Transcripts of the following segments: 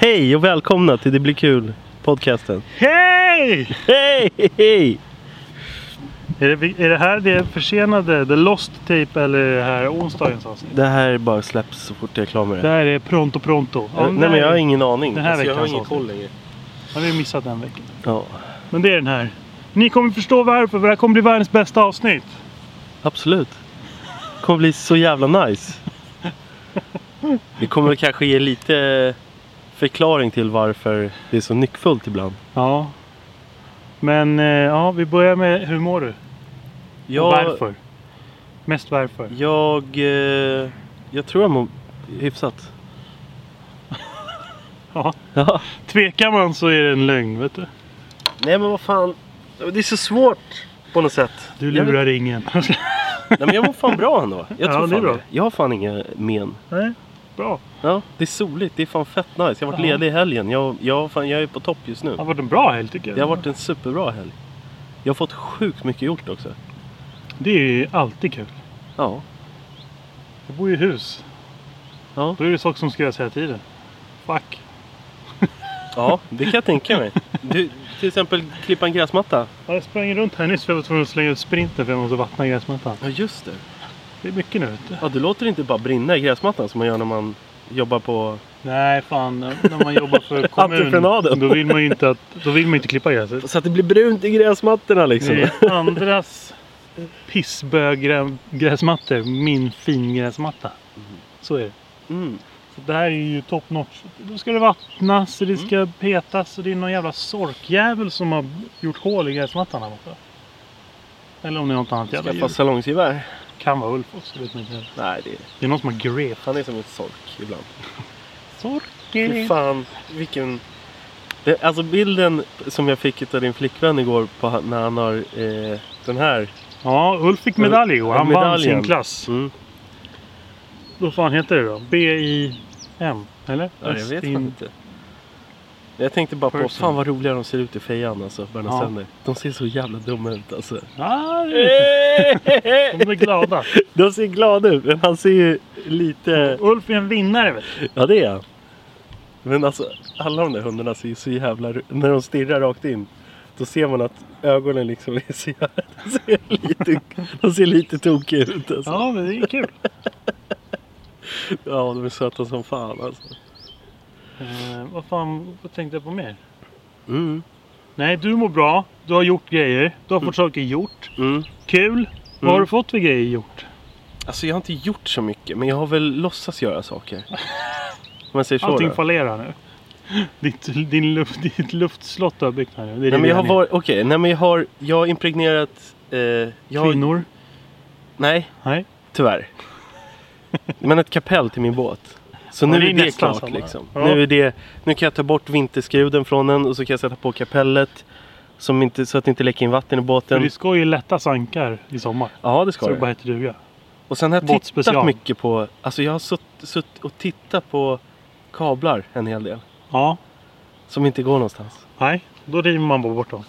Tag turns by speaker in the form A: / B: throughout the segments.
A: Hej och välkomna till Det blir kul podcasten.
B: Hej!
A: Hej! hej!
B: Är det, är det här det försenade, The Lost Tape eller är det här onsdagens avsnitt?
A: Det här bara släpps så fort jag är klar med
B: Det
A: det.
B: här är Pronto Pronto. Ja,
A: nej, men jag har ingen aning. Alltså,
B: Den här
A: jag har
B: veckans
A: ingen
B: avsnitt.
A: koll längre.
B: Ja, vi har missat den veckan.
A: Ja,
B: Men det är den här. Ni kommer förstå varför, för det här kommer bli världens bästa avsnitt.
A: absolut. Det kommer bli så jävla nice. Det kommer kanske ge lite förklaring till varför det är så nyckfullt ibland.
B: Ja. Men eh, ja, vi börjar med hur mår du? Och varför? Mest varför.
A: Jag, eh, jag tror jag mår hyfsat.
B: Ja.
A: Ja.
B: Tvekar man så är det en lögn, vet du.
A: Nej men vad fan. Det är så svårt på något sätt.
B: Du
A: Jag vet
B: lurar ingen.
A: Nej men jag mår fan bra ändå. Jag
B: Ja,
A: tror
B: det är
A: fan
B: bra.
A: det. Jag har fan inga men.
B: Nej, bra.
A: Ja, det är soligt, det är fan fett nice. Jag har varit
B: Ja.
A: ledig i helgen. Jag, jag, fan, jag är på topp just nu.
B: Det har varit en bra helg tycker jag.
A: Det har varit en superbra helg. Jag har fått sjukt mycket gjort också.
B: Det är ju alltid kul.
A: Ja.
B: Jag bor i hus.
A: Ja.
B: Då är det saker som ska göras hela tiden. Fuck.
A: Ja, det kan jag tänka mig. Du, till exempel klippa en gräsmatta.
B: Ja, jag sprang runt här nyss för jag var tvungen att slänga ut sprinten för jag måste vattna gräsmattan.
A: Ja, just det.
B: Det är mycket nu vet du.
A: Ja, du låter det inte bara brinna i gräsmattan som man gör när man jobbar på...
B: Nej fan, när man jobbar för
A: Entreprenaden.
B: kommun då vill man ju inte, att, då vill man ju inte klippa gräset.
A: Så att det blir brunt i gräsmattorna liksom.
B: Det är andras pissböggräsmattor, min fingräsmatta. Så är det.
A: Mm.
B: Så det här är ju top notch. Då ska det vattnas och det ska petas och det är någon jävla sorkjävel som har gjort hål i gräsmattan här borta. Eller om det är något annat jävla
A: Skaffa
B: djur.
A: salongsgevär.
B: Kan vara Ulf också, vet man inte. heller.
A: Nej, det är...
B: Det är någon som har grep.
A: han är som en sork ibland. Fy
B: Sorker.
A: fan, vilken... Det, alltså bilden som jag fick av din flickvän igår på, han- när han har eh, den här.
B: Ja, Ulf fick medalj igår. Han vann
A: Medaljen.
B: sin klass.
A: Mm.
B: Vad fan heter det då? B-I-M? Eller?
A: Ja, jag vet
B: Östin-
A: fan inte. Jag tänkte bara på,
B: Person.
A: fan vad roliga de ser ut i fejan alltså.
B: Ja.
A: Ja. De ser så jävla dumma ut alltså.
B: Ah, det- de blir glada.
A: de ser glada ut, men han ser ju lite...
B: Ulf är en vinnare vet du.
A: Ja det är han. Men alltså alla de där hundarna ser ju så jävla... ru- När de stirrar rakt in. Då ser man att ögonen liksom är så jävla... De ser lite, de ser lite tokiga ut alltså.
B: Ja, men det är kul.
A: Ja, de är söta som fan alltså.
B: Eh, vad fan vad tänkte jag på mer?
A: Mm.
B: Nej, du mår bra. Du har gjort grejer. Du har fått saker gjort.
A: Mm.
B: Kul. Vad har du fått för grejer gjort?
A: Alltså jag har inte gjort så mycket, men jag har väl låtsas göra saker. Om man säger så
B: Allting
A: då.
B: fallerar nu. Ditt, din luft, ditt luftslott du har byggt här nu. Det är
A: Nej men jag har
B: din
A: varit, okej, nej men jag har, jag har impregnerat, eh, jag har,
B: Kvinnor?
A: nej,
B: Nej.
A: tyvärr. Men ett kapell till min båt. Så
B: Ja,
A: nu
B: det
A: är,
B: är
A: det
B: nästan
A: klart
B: samma.
A: liksom.
B: Ja.
A: Nu, är det, nu kan jag ta bort vinterskruden från den och så kan jag sätta på kapellet. Som inte, så att det inte läcker in vatten i
B: För
A: båten.
B: det ska ju lätta sankar i sommar.
A: Ja det ska
B: så
A: det.
B: det bara heter duga.
A: Och sen har jag tittat
B: Båtspecial.
A: mycket på, alltså jag har suttit sutt och tittat på kablar en hel del.
B: Ja,
A: Som inte går någonstans.
B: nej. Då river man bara bort dem.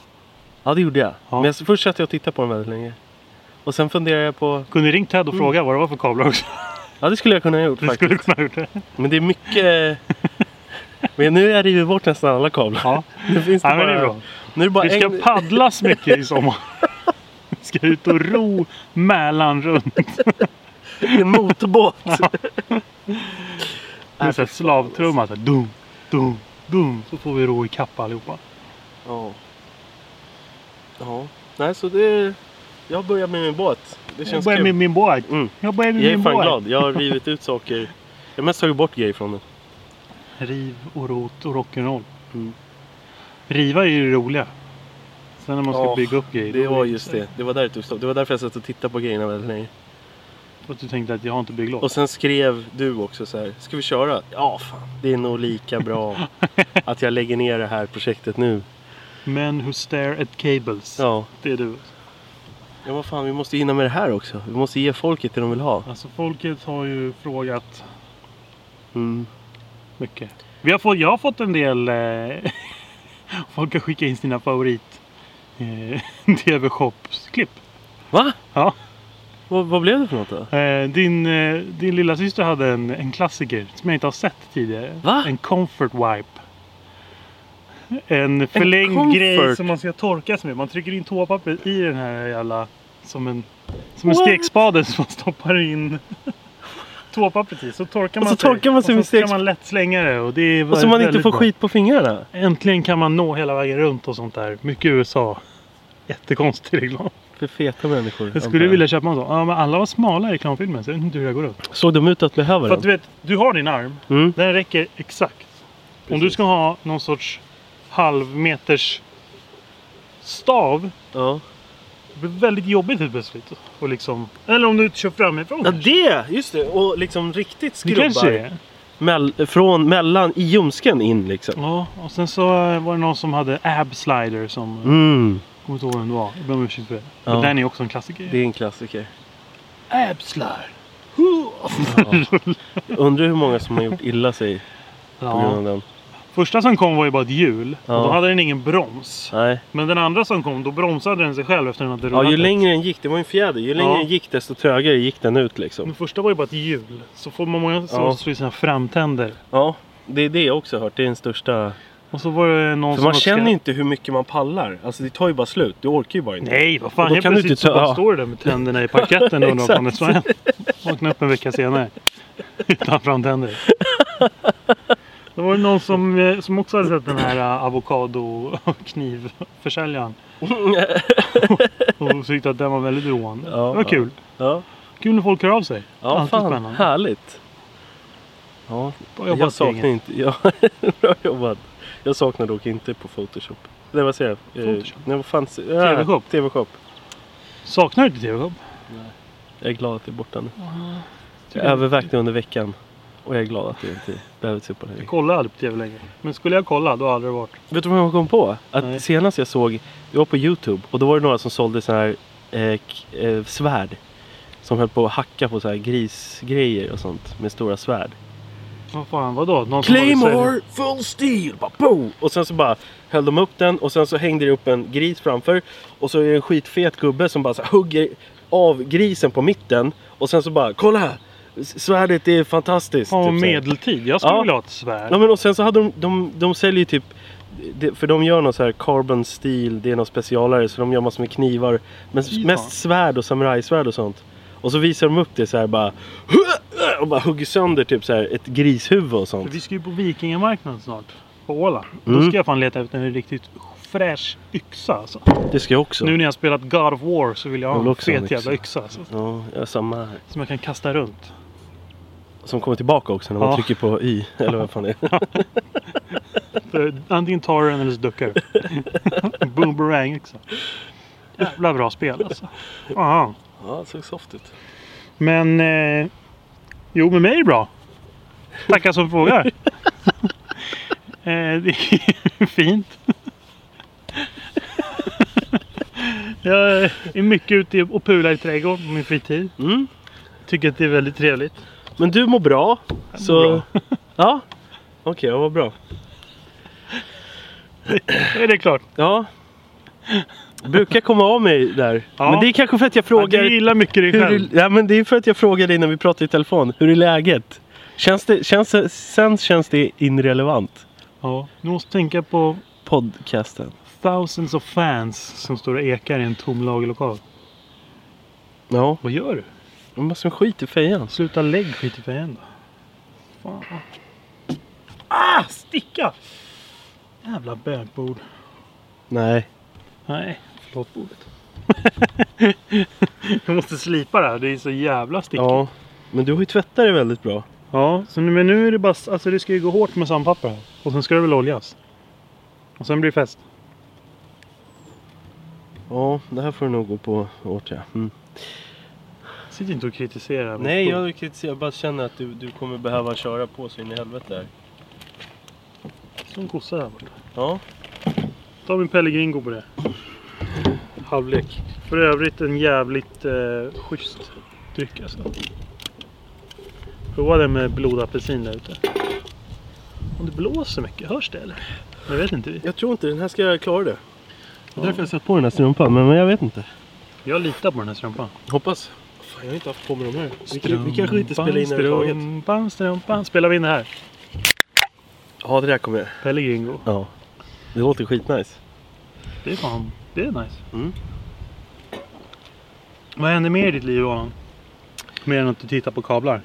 A: Ja det gjorde jag.
B: Ja.
A: Men jag, först satt jag och tittade på dem väldigt länge. Och sen funderade jag på,
B: Kunde ringt Ted och
A: Mm.
B: fråga vad det var för kablar också.
A: ja det skulle jag kunna ha gjort
B: Du
A: faktiskt.
B: skulle kunna ha gjort det.
A: Men det är mycket... men nu har jag rivit bort nästan alla kablar.
B: Ja,
A: Nu finns det
B: nej,
A: bara...
B: men det är bra.
A: Nu är det bara
B: Vi ska
A: en...
B: paddlas mycket i sommar. Vi ska ut och ro Mälaren runt.
A: en motorbåt.
B: Med så här slavtrumma. Så här, dum, dum, dum. Så får vi ro i kapp allihopa.
A: Ja. Ja. Nej så det... Jag börjar med min båt. Det
B: Jag
A: känns
B: börjar
A: kul.
B: med min båt.
A: Mm.
B: Jag börjar med
A: Jag är
B: min
A: fan
B: båt.
A: glad. Jag har rivit ut saker. Jag har mest tagit bort grejer från den.
B: Riv och rot och rock'n'roll.
A: Mm.
B: Riva är ju det roliga. Sen när man ska
A: Ja,
B: bygga upp grejer.
A: Det
B: då
A: var
B: blir
A: just
B: så här.
A: det. Det var, där det tog stopp. det var därför jag satt och tittade på grejerna väldigt länge.
B: För att du tänkte att jag har inte bygglov.
A: Och sen skrev du också så här. Ska vi köra? Ja, fan. Det är nog lika bra att jag lägger ner det här projektet nu.
B: Men who stare at cables.
A: Ja.
B: Det är du.
A: Ja, vad fan. Vi måste hinna med det här också. Vi måste ge folket det de vill ha.
B: Alltså folket har ju frågat
A: Mm.
B: mycket. Vi har fått, jag har fått en del... Eh, folk har skickat in sina favorit eh, TV-shop-klipp.
A: Va?
B: Ja.
A: Vad, vad blev det för något då?
B: Eh, din eh, din lilla syster hade en, en klassiker som jag inte har sett tidigare.
A: Va?
B: En comfort wipe. en förlängd
A: comfort.
B: grej som man ska torka sig med. Man trycker in toapapper i den här jävla... Som en, som en
A: What?
B: stekspade som man stoppar in toapappret i. Så torkar
A: Och
B: man
A: så torkar man sig
B: och
A: med
B: så kan
A: stek-
B: man lätt slänga det. Och, det är
A: Och så Alltså, man inte
B: väldigt
A: får
B: bra.
A: skit på fingrarna.
B: Äntligen kan man nå hela vägen runt och sånt där. Mycket USA. Jättekonstig reklam.
A: För feta människor.
B: Jag
A: antar
B: skulle vilja köpa en sån. Ja, men alla var smala i reklamfilmen så jag vet inte hur det går upp.
A: Såg de ut att behöva
B: För att du
A: den?
B: vet, du har din arm.
A: Mm.
B: Den räcker exakt. Om du
A: Precis.
B: ska ha någon sorts halvmeters stav.
A: Ja.
B: Det blir väldigt jobbigt helt plötsligt. Och liksom, eller om du inte kör framifrån.
A: ja, det! Just det. Och liksom riktigt
B: det kanske det
A: skrubbar.
B: är.
A: Mell- från mellan, i ljumsken in liksom.
B: Ja, och sen så eh, var det någon som hade ab slider som...
A: Mm.
B: Jag kommer inte ihåg vem det var. Jag ber om ursäkt för det.
A: Ja.
B: Men den är också en klassiker.
A: Det är en klassiker.
B: Ab slide.
A: Undrar hur många som har gjort illa sig på grund
B: Ja.
A: av den.
B: Första som kom var ju bara ett hjul.
A: Ja.
B: Och då hade den ingen broms.
A: Nej.
B: Men den andra som kom, då bromsade den sig själv efter den hade rullat.
A: Ja, ju
B: ett.
A: längre den gick, det var ju en fjäder. Ju längre
B: Ja.
A: den gick desto trögare gick den ut liksom.
B: Den första var ju bara ett hjul. Så får man många som
A: Ja.
B: slår i sina framtänder.
A: Ja, det är det jag också har hört. Det är den största...
B: Och så var det någon
A: För
B: som...
A: man
B: också-
A: känner ju inte hur mycket man pallar. Alltså det tar ju bara slut. Du orkar ju bara inte.
B: Nej, vad
A: Och
B: fan.
A: då
B: Helt
A: kan du
B: plötsligt
A: inte
B: så
A: ta-
B: bara
A: ja.
B: står du där med tänderna i parketten och undrar vad fan det är som har hänt. Vaknar upp en vecka senare. Utan framtänder. Då var det någon som, eh, som också hade sett den här eh, avokado och knivförsäljaren. Och tyckte att den var väldigt roande.
A: Ja,
B: det var
A: ja.
B: kul.
A: Ja,
B: Kul när folk hör av sig.
A: ja
B: Alltid
A: fan.
B: spännande.
A: Härligt. Ja,
B: Bra
A: jag,
B: jobbat
A: saknar
B: gänget.
A: inte... Ja, bra jobbat. Jag saknar dock inte på Photoshop. Nej, vad säger jag? Eh,
B: Photoshop?
A: Nej, vad fan...
B: TV-shop.
A: Ja, TV-shop.
B: Saknar du inte TV-shop?
A: Jag är glad att det är borta nu. Jag övervägde under veckan. Och jag är glad att jag inte behöver se på det.
B: Jag kollar aldrig på TV längre. Men skulle jag kolla då hade det varit.
A: Vet du vad jag kom på? Att
B: Nej.
A: senast jag såg, jag var på Youtube och då var det några som sålde sådana här eh, k- eh, svärd. Som höll på att hacka på så här grisgrejer och sånt med stora svärd.
B: Vad fan vadå? Någon som bara vill
A: Claymore full steel! Bara, boom! Och sen så bara höll de upp den och sen så hängde det upp en gris framför. Och så är det en skitfet gubbe som bara så här, hugger av grisen på mitten. Och sen så bara kolla! här! S- Svärdet är fantastiskt!
B: säga- Ja,
A: Typ så här.
B: medeltid. Jag skulle
A: Ja.
B: vilja ha ett svärd.
A: Ja men och sen så hade de, de, de säljer ju typ det- för de gör någon så här carbon steel, det är någon specialare så de gör massor med knivar. Men s-
B: Fy fan.
A: mest svärd och samurajsvärd och sånt. Och så visar de upp det så här bara "Hua!" och bara hugger sönder typ så här ett grishuvud och
B: För
A: sånt.
B: Vi ska ju på vikingamarknaden snart. På Åland. Då
A: Mm.
B: ska jag fan leta efter en riktigt fräsch yxa alltså.
A: Det ska jag också.
B: Nu när jag har spelat God of War så vill jag
A: Jag
B: ha
A: vill
B: en
A: också ha en
B: fet jävla
A: yxa.
B: yxa. Alltså,
A: Ja, jag har samma här.
B: som jag kan kasta runt.
A: Som kommer tillbaka också när man
B: Ja.
A: trycker på Y. Eller vad fan det är.
B: För antingen tar du den eller så duckar du. Boomerang yxa. Jävla bra spel alltså. Aha.
A: Ja, det såg soft ut.
B: Men... Eh, jo, med mig är det bra. Tackar som frågar. eh, det är fint. jag är mycket ute och pular i trädgården på min fritid.
A: Mm.
B: Tycker att det är väldigt trevligt.
A: Men du mår bra. Så...
B: bra.
A: ja. Okej, vad bra.
B: Är det klart?
A: Ja. Brukar komma av mig där.
B: Ja.
A: Men det är kanske för att jag frågar...
B: Ja, du gillar mycket dig
A: hur
B: själv.
A: är, ja, men det är för att jag frågar dig när vi pratar i telefon. Hur är läget? Känns det, känns det, sen känns det irrelevant.
B: Ja, du måste tänka på
A: Podcasten.
B: thousands of fans som står och ekar i en tom lagerlokal.
A: Ja.
B: Vad gör du?
A: Det måste vara skit i fejan.
B: Sluta lägg skit i fejan då. Fan. Ah! Sticka! Jävla bögbord.
A: Nej.
B: Nej, förlåt bordet. jag måste slipa det här. Det är så jävla stickigt. Ja.
A: Ja. Men du har ju tvättat det väldigt bra.
B: så nu, men nu är det bara... Alltså det ska ju gå hårt med sandpapper här. Och sen ska det väl oljas. Och sen blir det fest.
A: Ja, det här får du nog gå på hårt ja. Mm.
B: Sitt inte och kritisera. vårt
A: Nej,
B: bord.
A: jag kritiserar. Jag bara känner att du, du kommer behöva köra på så in i helvete här.
B: Som kossa här borta.
A: Ja.
B: Ta min Pellegringo på det. Halvlek. För övrigt en jävligt eh, schysst dryck alltså. Prova den med blodapelsin där ute. Om det blåser mycket, hörs det eller? Det vet inte vi.
A: Jag tror inte den här ska klara det. Det är därför jag satt på den här strumpan, men men jag vet inte.
B: Jag litar på den här strumpan.
A: Hoppas. Fan, jag har inte haft på mig de här. Vi, kan- vi kanske inte spelar in överhuvudtaget.
B: Strumpan, strumpan. Spelar vi in det här?
A: Ja, det där kommer jag.
B: Pellegringo.
A: Ja. Det låter skitnice.
B: Det är fan, det är nice.
A: Mm.
B: Vad händer mer i ditt liv Adam? Mer än att du tittar på kablar?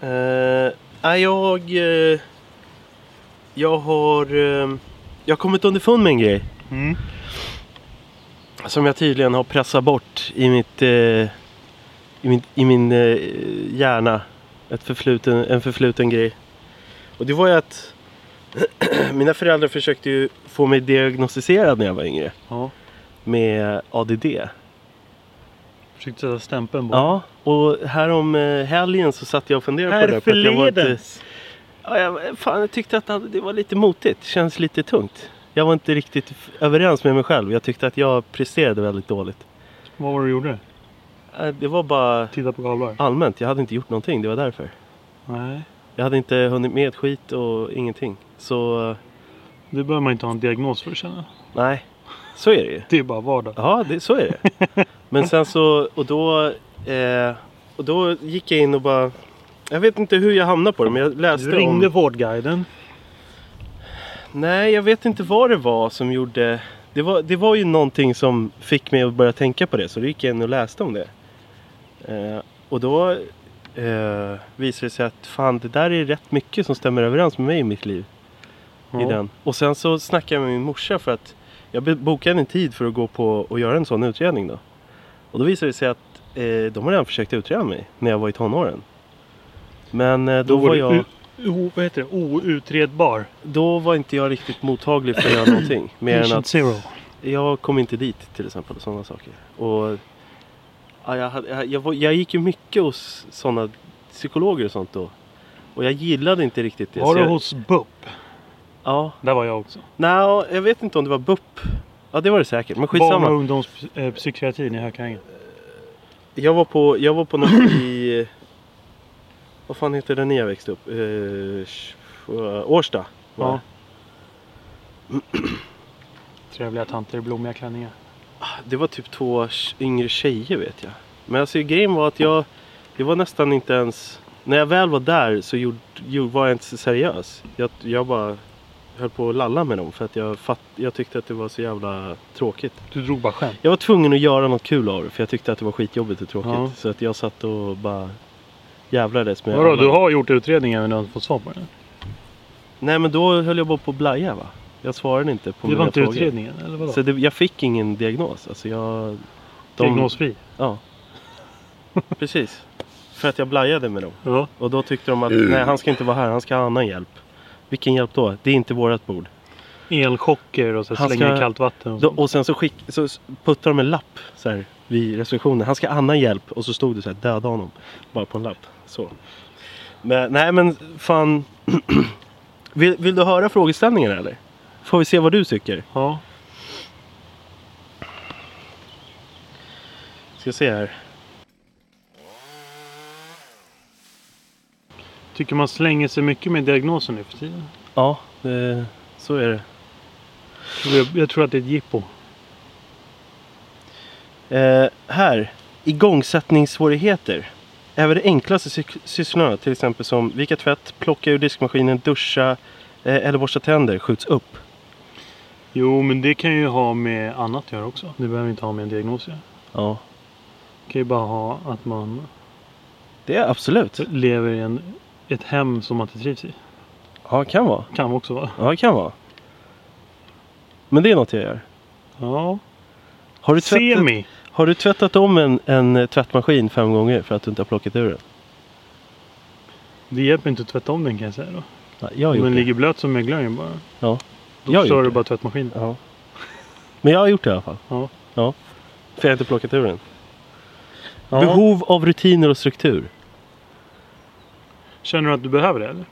A: Eh, nej, jag... eh, jag har... eh, jag har kommit underfund med en grej.
B: Mm.
A: Som jag tydligen har pressat bort i mitt... eh, i min, i min eh, hjärna. Ett förfluten, en förfluten grej. Och det var ju att... mina föräldrar försökte ju få mig diagnostiserad när jag var yngre.
B: Ja.
A: Med ADD.
B: Försökte sätta stämpeln på.
A: Ja, och härom eh, helgen så satt jag och funderade på det. för att jag var inte- Ja, jag, fan, jag tyckte att det var lite motigt. Känns lite tungt. Jag var inte riktigt f- överens med mig själv. Jag tyckte att jag presterade väldigt dåligt.
B: Vad var det du gjorde?
A: Eh, Det var bara
B: Titta på kablar?
A: allmänt. Jag hade inte gjort någonting. Det var därför.
B: Nej.
A: Jag hade inte hunnit med ett skit och ingenting. Så eh,
B: Det behöver man inte ha en diagnos för känner jag.
A: nej, så är det ju.
B: Det är bara vardag.
A: Ja, det, så är det. Men sen så, och då, eh, och då gick jag in och bara... Jag vet inte hur jag hamnade på det, men jag läste
B: Du ringde
A: om...
B: Vårdguiden.
A: Nej, jag vet inte vad det var som gjorde... Det var, det var ju någonting som fick mig att börja tänka på det, så då gick jag in och läste om det. Eh, och då eh, visade det sig att fan, det där är rätt mycket som stämmer överens med mig i mitt liv. I
B: Ja.
A: den. Och sen så snackade jag med min morsa för att jag be- bokade en tid för att gå på och göra en sån utredning då. Och då visade det sig att eh, de har redan försökt utreda mig när jag var i tonåren. Men eh, då,
B: Då
A: var
B: var du
A: jag...
B: u- O, vad heter det? Outredbar.
A: Då var inte jag riktigt mottaglig för att göra någonting. Mer än
B: Patient
A: att
B: zero.
A: jag kom inte dit till exempel. och Sådana saker. Och, ja, jag, hade, jag, jag, var- jag gick ju mycket hos sådana psykologer och sånt då. Och jag gillade inte riktigt det.
B: Var
A: så
B: du
A: jag,
B: hos BUP?
A: Ja.
B: Där var jag också.
A: Nej, jag vet inte om det var BUP. Ja det var det säkert. Men
B: Barn
A: skitsamma.
B: och ungdomspsykiatrin i Hökarängen.
A: Jag var på, jag var på något i... Vad fan heter det när jag växte upp? Eh, sh- eh, Årsta. var
B: Ja.
A: det.
B: Trevliga tanter i blommiga klänningar.
A: Det var typ två sh- yngre tjejer vet jag. Men alltså grejen var att jag, det var nästan inte ens, när jag väl var där så gjord, gjord, var jag inte så seriös. Jag, jag bara höll på att lalla med dem för att jag, fatt, jag tyckte att det var så jävla tråkigt.
B: Du drog bara skämt.
A: Jag var tvungen att göra något kul av det för jag tyckte att det var skitjobbigt och tråkigt.
B: Ja.
A: Så att jag satt och bara jävlades med
B: Vadå,
A: alla.
B: du har gjort utredningen men du har inte fått svar på den?
A: Nej men då höll jag bara på att blaja va. Jag svarade inte på
B: Det
A: mina
B: var inte
A: frågor.
B: utredningen eller vadå?
A: Så det, jag fick ingen diagnos. Alltså jag... de-
B: Diagnosfri?
A: Ja. Precis. För att jag blajade med dem.
B: Ja.
A: Och då tyckte de att nej han ska inte vara här, han ska ha annan hjälp. Vilken hjälp då? Det är inte vårat bord.
B: Elchocker och så
A: Han
B: här slänga
A: ska-
B: i kallt vatten. Och
A: Då,
B: sånt.
A: och sen så, skick, så s- puttar de en lapp så här, vid receptionen. Han ska ha annan hjälp. Och så stod det så här, döda honom. Bara på en lapp. Så. Men, nej men fan. vill, vill du höra frågeställningen eller? Får vi se vad du tycker?
B: Ja.
A: Ska se här.
B: Tycker man slänger sig mycket med diagnosen nu för tiden?
A: Ja, det, så är det.
B: Jag, jag tror att det är ett jippo.
A: Eh, här, igångsättningssvårigheter. Även de enklaste sy- sysslorna, till exempel som vika tvätt, plocka ur diskmaskinen, duscha eh, eller borsta tänder, skjuts upp.
B: Jo, men det kan ju ha med annat att göra också. Det behöver inte ha med en diagnos att göra.
A: Ja,
B: Det kan ju bara ha att man
A: det är absolut.
B: lever i en, ett hem som man inte trivs i.
A: Ja, kan vara.
B: Kan också vara.
A: Ja, kan vara. Men det är något jag gör.
B: Ja.
A: Har du, tvättat,
B: Semi.
A: har du tvättat om en, en eh, tvättmaskin fem gånger för att du inte har plockat ur den?
B: Det hjälper inte att tvätta om den kan jag säga då.
A: Ja, jag har
B: Om
A: gjort
B: den
A: det.
B: ligger blöt som möglaren bara.
A: Ja.
B: Då
A: Jag har
B: förstör
A: gjort
B: du
A: det.
B: bara tvättmaskinen.
A: Ja. Men jag har gjort det i alla fall.
B: Ja.
A: ja. För jag har inte plockat ur den.
B: Ja.
A: Behov av rutiner och struktur.
B: Känner du att du behöver det eller?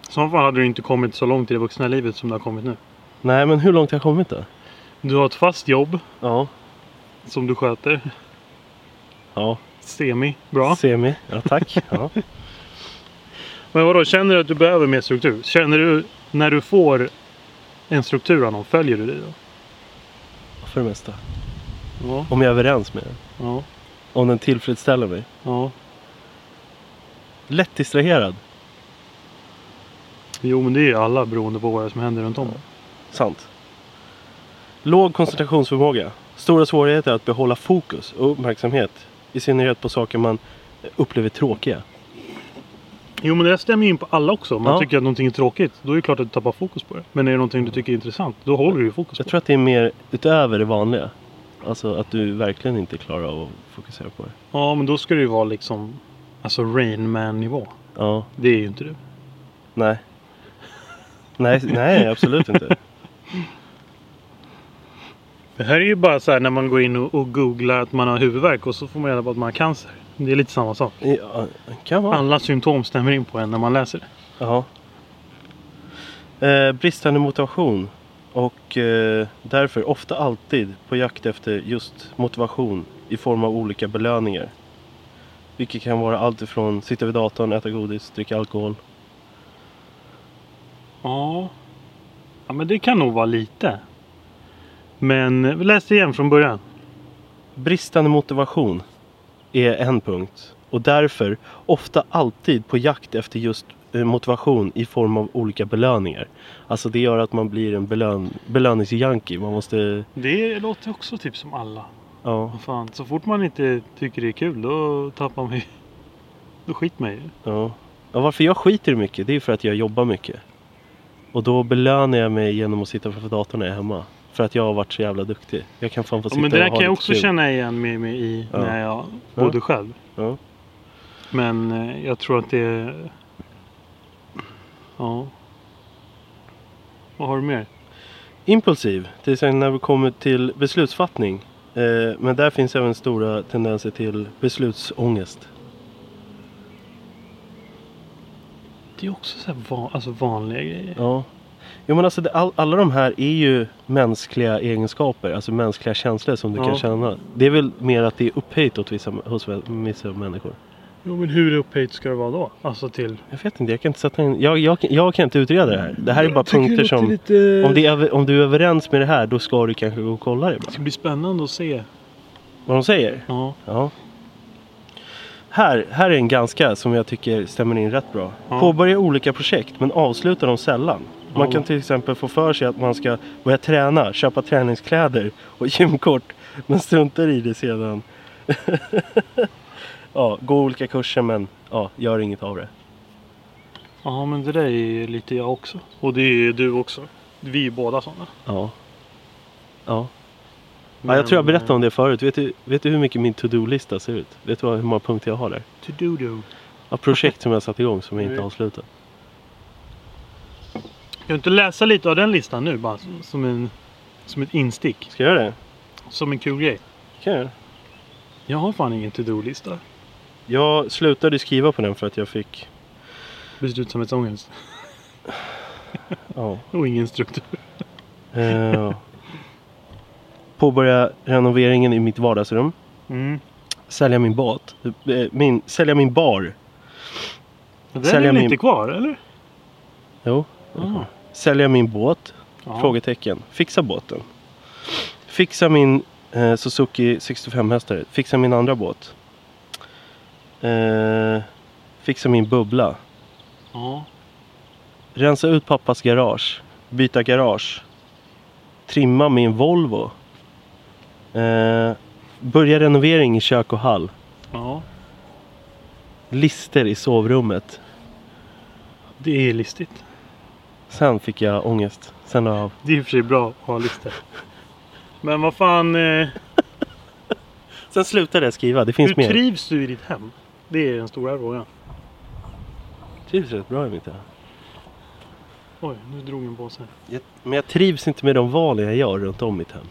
B: I så fall hade du inte kommit så långt i det vuxna livet som du har kommit nu.
A: Nej, men hur långt har jag kommit då?
B: Du har ett fast jobb
A: Ja.
B: som du sköter.
A: Ja,
B: Semi. Bra.
A: semi. Ja, tack. Ja.
B: Men vadå, känner du att du behöver mer struktur? Känner du när du får en struktur av någon, följer du det då?
A: För det mesta.
B: Ja.
A: Om jag är överens med den.
B: Ja.
A: Om den tillfredsställer mig.
B: ja.
A: Lätt distraherad.
B: Jo men det är ju alla beroende på vad det är som händer runt om.
A: Sant. Låg koncentrationsförmåga. Stora svårigheter att behålla fokus och uppmärksamhet. I synnerhet på saker man upplever tråkiga.
B: Jo men det där stämmer ju in på alla också. Om man
A: Ja.
B: tycker att någonting är tråkigt, då är det klart att du tappar fokus på det. Men är det någonting du tycker är intressant, då håller du ju fokus på
A: Jag tror att det är mer utöver det vanliga. Alltså att du verkligen inte klarar av att fokusera på det.
B: det. Ja men då ska det ju vara liksom, alltså Rain Man nivå.
A: Ja,
B: Det är ju inte du.
A: nej. Nej, nej absolut inte.
B: Det här är ju bara så här när man går in och, och googlar att man har huvudvärk och så får man reda på att man har cancer. Det är lite samma sak.
A: Ja, kan vara.
B: Alla symptom stämmer in på en när man läser det.
A: Ja. Eh, bristande motivation. Och eh, därför ofta alltid på jakt efter just motivation i form av olika belöningar. Vilket kan vara allt ifrån sitta vid datorn, äta godis, dricka alkohol.
B: Ja. Ja men det kan nog vara lite. Men eh, vi läser igen från början.
A: Bristande motivation är en punkt. Och därför ofta alltid på jakt efter just eh, motivation i form av olika belöningar. Alltså det gör att man blir en belön- belöningsjunkie. Man måste...
B: Det låter också typ som alla.
A: Ja,
B: Vad Fan, så fort man inte tycker det är kul då tappar man ju... Då skit man ju.
A: Ja. ja, varför jag skiter i mycket det är för att jag jobbar mycket. Och då belönar jag mig genom att sitta framför datorn när jag är hemma. För att jag har varit så jävla duktig. Jag kan fan få
B: Ja,
A: sitta
B: men det
A: och
B: där
A: ha
B: kan jag
A: lite
B: också
A: kul.
B: känna igen mig, mig i
A: Ja.
B: när jag
A: Ja.
B: bodde själv.
A: Ja.
B: Men eh, jag tror att det är... Ja. Vad har du mer?
A: Impulsiv, till exempel när vi kommer till beslutsfattning. Eh, men där finns även stora tendenser till beslutsångest.
B: Det är också så här va- alltså vanliga grejer.
A: Ja. Jo men alltså det, all, alla de här är ju mänskliga egenskaper, alltså mänskliga känslor som du
B: Ja.
A: kan känna. Det är väl mer att det är upphöjt åt vissa, hos vissa människor.
B: Jo men hur upphöjt ska det vara då? Alltså till...
A: Jag vet inte, jag kan inte sätta in... Jag, jag, jag kan inte utreda det här. Det här är bara
B: Tycker det
A: punkter
B: låter
A: som...
B: Lite...
A: Om, det är, över- om du är överens med det här då ska du kanske gå och kolla det
B: Det
A: bara.
B: ska bli spännande att se.
A: Vad de säger?
B: Ja.
A: Ja. Här, här är en ganska som jag tycker stämmer in rätt bra.
B: Ja.
A: Påbörja olika projekt men avsluta dem sällan. Man
B: Ja.
A: kan till exempel få för sig att man ska börja träna, köpa träningskläder och gymkort. Men struntar i det sedan. ja, gå olika kurser men ja, gör inget av det.
B: Ja men det där är ju lite jag också. Och det är ju du också. Vi är ju båda sådana.
A: Ja. Ja. Ja, jag tror jag berättade om det förut. Vet du, vet du hur mycket min to-do-lista ser ut? Vet du vad, hur många punkter jag har där?
B: To-do-do.
A: Ja, projekt som jag satt igång som jag inte
B: Mm.
A: avslutat.
B: Kan du inte läsa lite av den listan nu bara? Som- Som, en, som ett instick.
A: Ska jag göra det?
B: Som en kul grej.
A: Kan jag göra det?
B: Jag har fan ingen to-do-lista.
A: Jag slutade skriva på den för att jag fick...
B: Beslutsamhetsångest.
A: Ja.
B: Och ingen struktur.
A: Eh, påbörja renoveringen i mitt vardagsrum.
B: Mm.
A: Sälja min båt. Eh, min, sälja min bar.
B: Den
A: Sälja
B: är väl
A: min-
B: inte kvar eller?
A: Jo.
B: Ah.
A: Sälja min båt.
B: Ja.
A: Frågetecken. Fixa båten. Fixa min eh, Suzuki 65-hästare. Fixa min andra båt. Eh, fixa min bubbla.
B: Ja.
A: Rensa ut pappas garage. Byta garage. Trimma min Volvo. Eh, börja renovering i kök och hall.
B: ja.
A: Lister i sovrummet.
B: Det är listigt.
A: Sen fick jag ångest. Sen la jag av.
B: Det är i och för sig bra att ha listor. Men vad fan. Eh,
A: Sen slutade jag skriva. Det finns
B: hur
A: mer.
B: trivs du i ditt hem? Det är den stora frågan.
A: Trivs rätt bra i mitt hem.
B: Oj, nu drog en påse.
A: Jag- Men jag trivs inte med de val jag gör runt om mitt hem.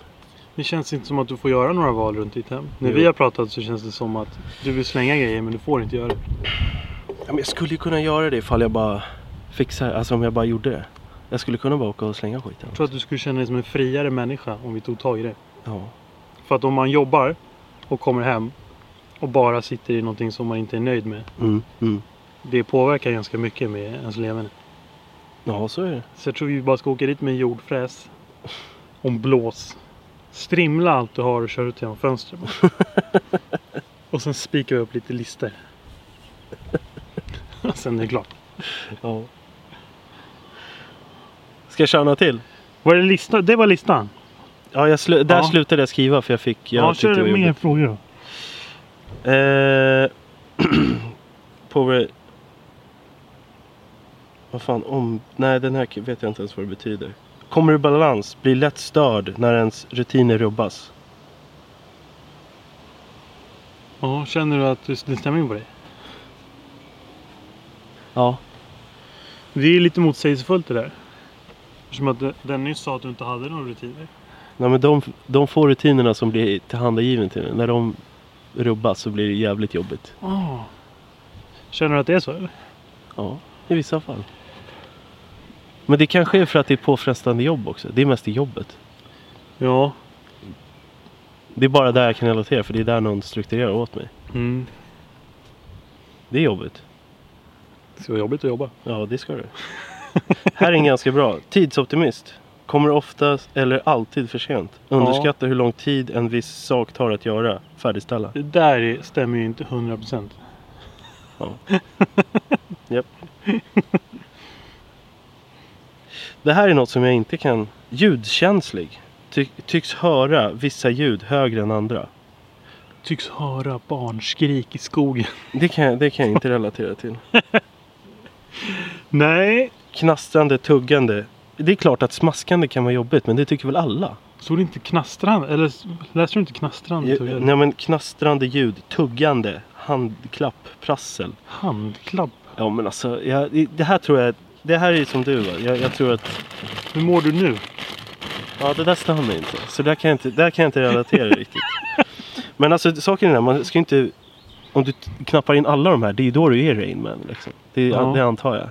B: Det känns inte som att du får göra några val runt ditt hem. När
A: Jo.
B: vi har pratat så känns det som att du vill slänga grejer men du får inte göra det.
A: Ja, men jag skulle ju kunna göra det ifall jag bara fixar, alltså om jag bara gjorde det. Jag skulle kunna bara åka och slänga skiten.
B: Jag tror att du skulle känna dig som en friare människa om vi tog tag i det.
A: Ja.
B: För att om man jobbar och kommer hem och bara sitter i någonting som man inte är nöjd med.
A: Mm, mm.
B: Det påverkar ganska mycket med ens leverne.
A: Ja, så är det.
B: Så jag tror vi bara ska åka dit med en jordfräs. Om blås. Strimla allt du har och kör ut genom fönstret. bara. och sen spikar vi upp lite lister. sen är det klart.
A: Ja. Ska jag köra något till?
B: Var det listan? Det var listan?
A: Ja, jag slu- där
B: Ja.
A: slutade jag skriva för jag fick... Jag
B: ja,
A: tyckte
B: kör
A: det var
B: mer
A: jobbigt.
B: frågor då.
A: Eh, Power... Vad fan, om... Nej, den här vet jag inte ens vad det betyder. Kommer ur balans, blir lätt störd när ens rutiner rubbas.
B: Ja, känner du att det stämmer på dig?
A: Ja.
B: Det är ju lite motsägelsefullt det där. Som att de- den nyss sa att du inte hade några rutiner.
A: Nej, men de, de få rutinerna som blir tillhandagiven till en, när de rubbas så blir det jävligt jobbigt.
B: Oh. Känner du att det är så eller?
A: Ja, i vissa fall. Men det kanske är för att det är påfrestande jobb också. Det är mest i jobbet.
B: Ja.
A: Det är bara där jag kan relatera för det är där någon strukturerar åt mig.
B: Mm.
A: Det är jobbigt.
B: Det ska vara jobbigt att jobba.
A: Ja, det ska du. Här är en ganska bra. Tidsoptimist. Kommer oftast eller alltid för sent. Underskattar hur lång tid en viss sak tar att göra. Färdigställa.
B: Det där är- stämmer ju inte 100%.
A: Det här är något som jag inte kan. Ljudkänslig. Ty- tycks höra vissa ljud högre än andra.
B: Tycks höra barnskrik i skogen.
A: Det kan, jag- det kan jag inte relatera till.
B: Nej.
A: Knastrande, tuggande. Det är klart att smaskande kan vara jobbigt men det tycker väl alla?
B: Stod det inte knastrande? Eller s- läste du inte knastrande? tror jag?
A: Nej men knastrande ljud, tuggande, handklapp, prassel.
B: Handklapp.
A: Ja men alltså, jag, det här tror jag, det här är som du va? Jag, jag tror att,
B: Hur mår du nu?
A: ja det där stämmer mig inte. Så där kan jag inte, där kan jag inte relatera riktigt. Men alltså saken är den här, man ska ju inte, om du t- knappar in alla de här, det är ju då du är Rain Man liksom. Det, är-
B: Ja.
A: det antar jag.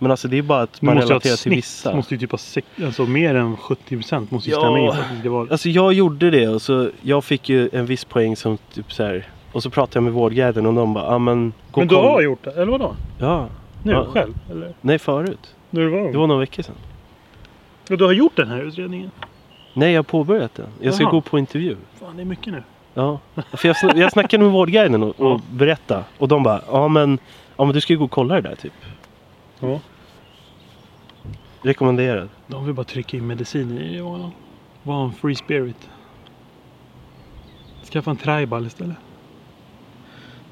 A: Men alltså det är bara att
B: Nu
A: man
B: måste jag ha
A: relaterar
B: ett
A: till
B: snitt.
A: vissa.
B: Måste ju typ ha sex, alltså mer än 70% måste ju
A: Ja.
B: stämma in. för att Det var,
A: Alltså jag gjorde det och så jag fick ju en viss poäng som typ så här. Och så pratade jag med vårdguiden och de bara, ja ah, men gå
B: men
A: och
B: du
A: kolla."
B: har gjort det? Eller vadå?
A: Ja.
B: Nu
A: Ja.
B: själv? Eller?
A: Nej förut.
B: När du var ung?
A: Det var några veckor sedan.
B: Ja, Du har gjort den här utredningen?
A: Nej jag har påbörjat den. Jag ska
B: Jaha.
A: gå på intervju.
B: Fan, det är mycket nu.
A: Ja. För jag, sn- jag snackade med vårdguiden och, och
B: Ja.
A: berättade. Och de bara, ja ah, men, ja men du ska ju gå och kolla det där typ.
B: Ja.
A: Rekommenderad.
B: De vill bara trycka in medicin i honom. Var en free spirit. Skaffa en tribal istället.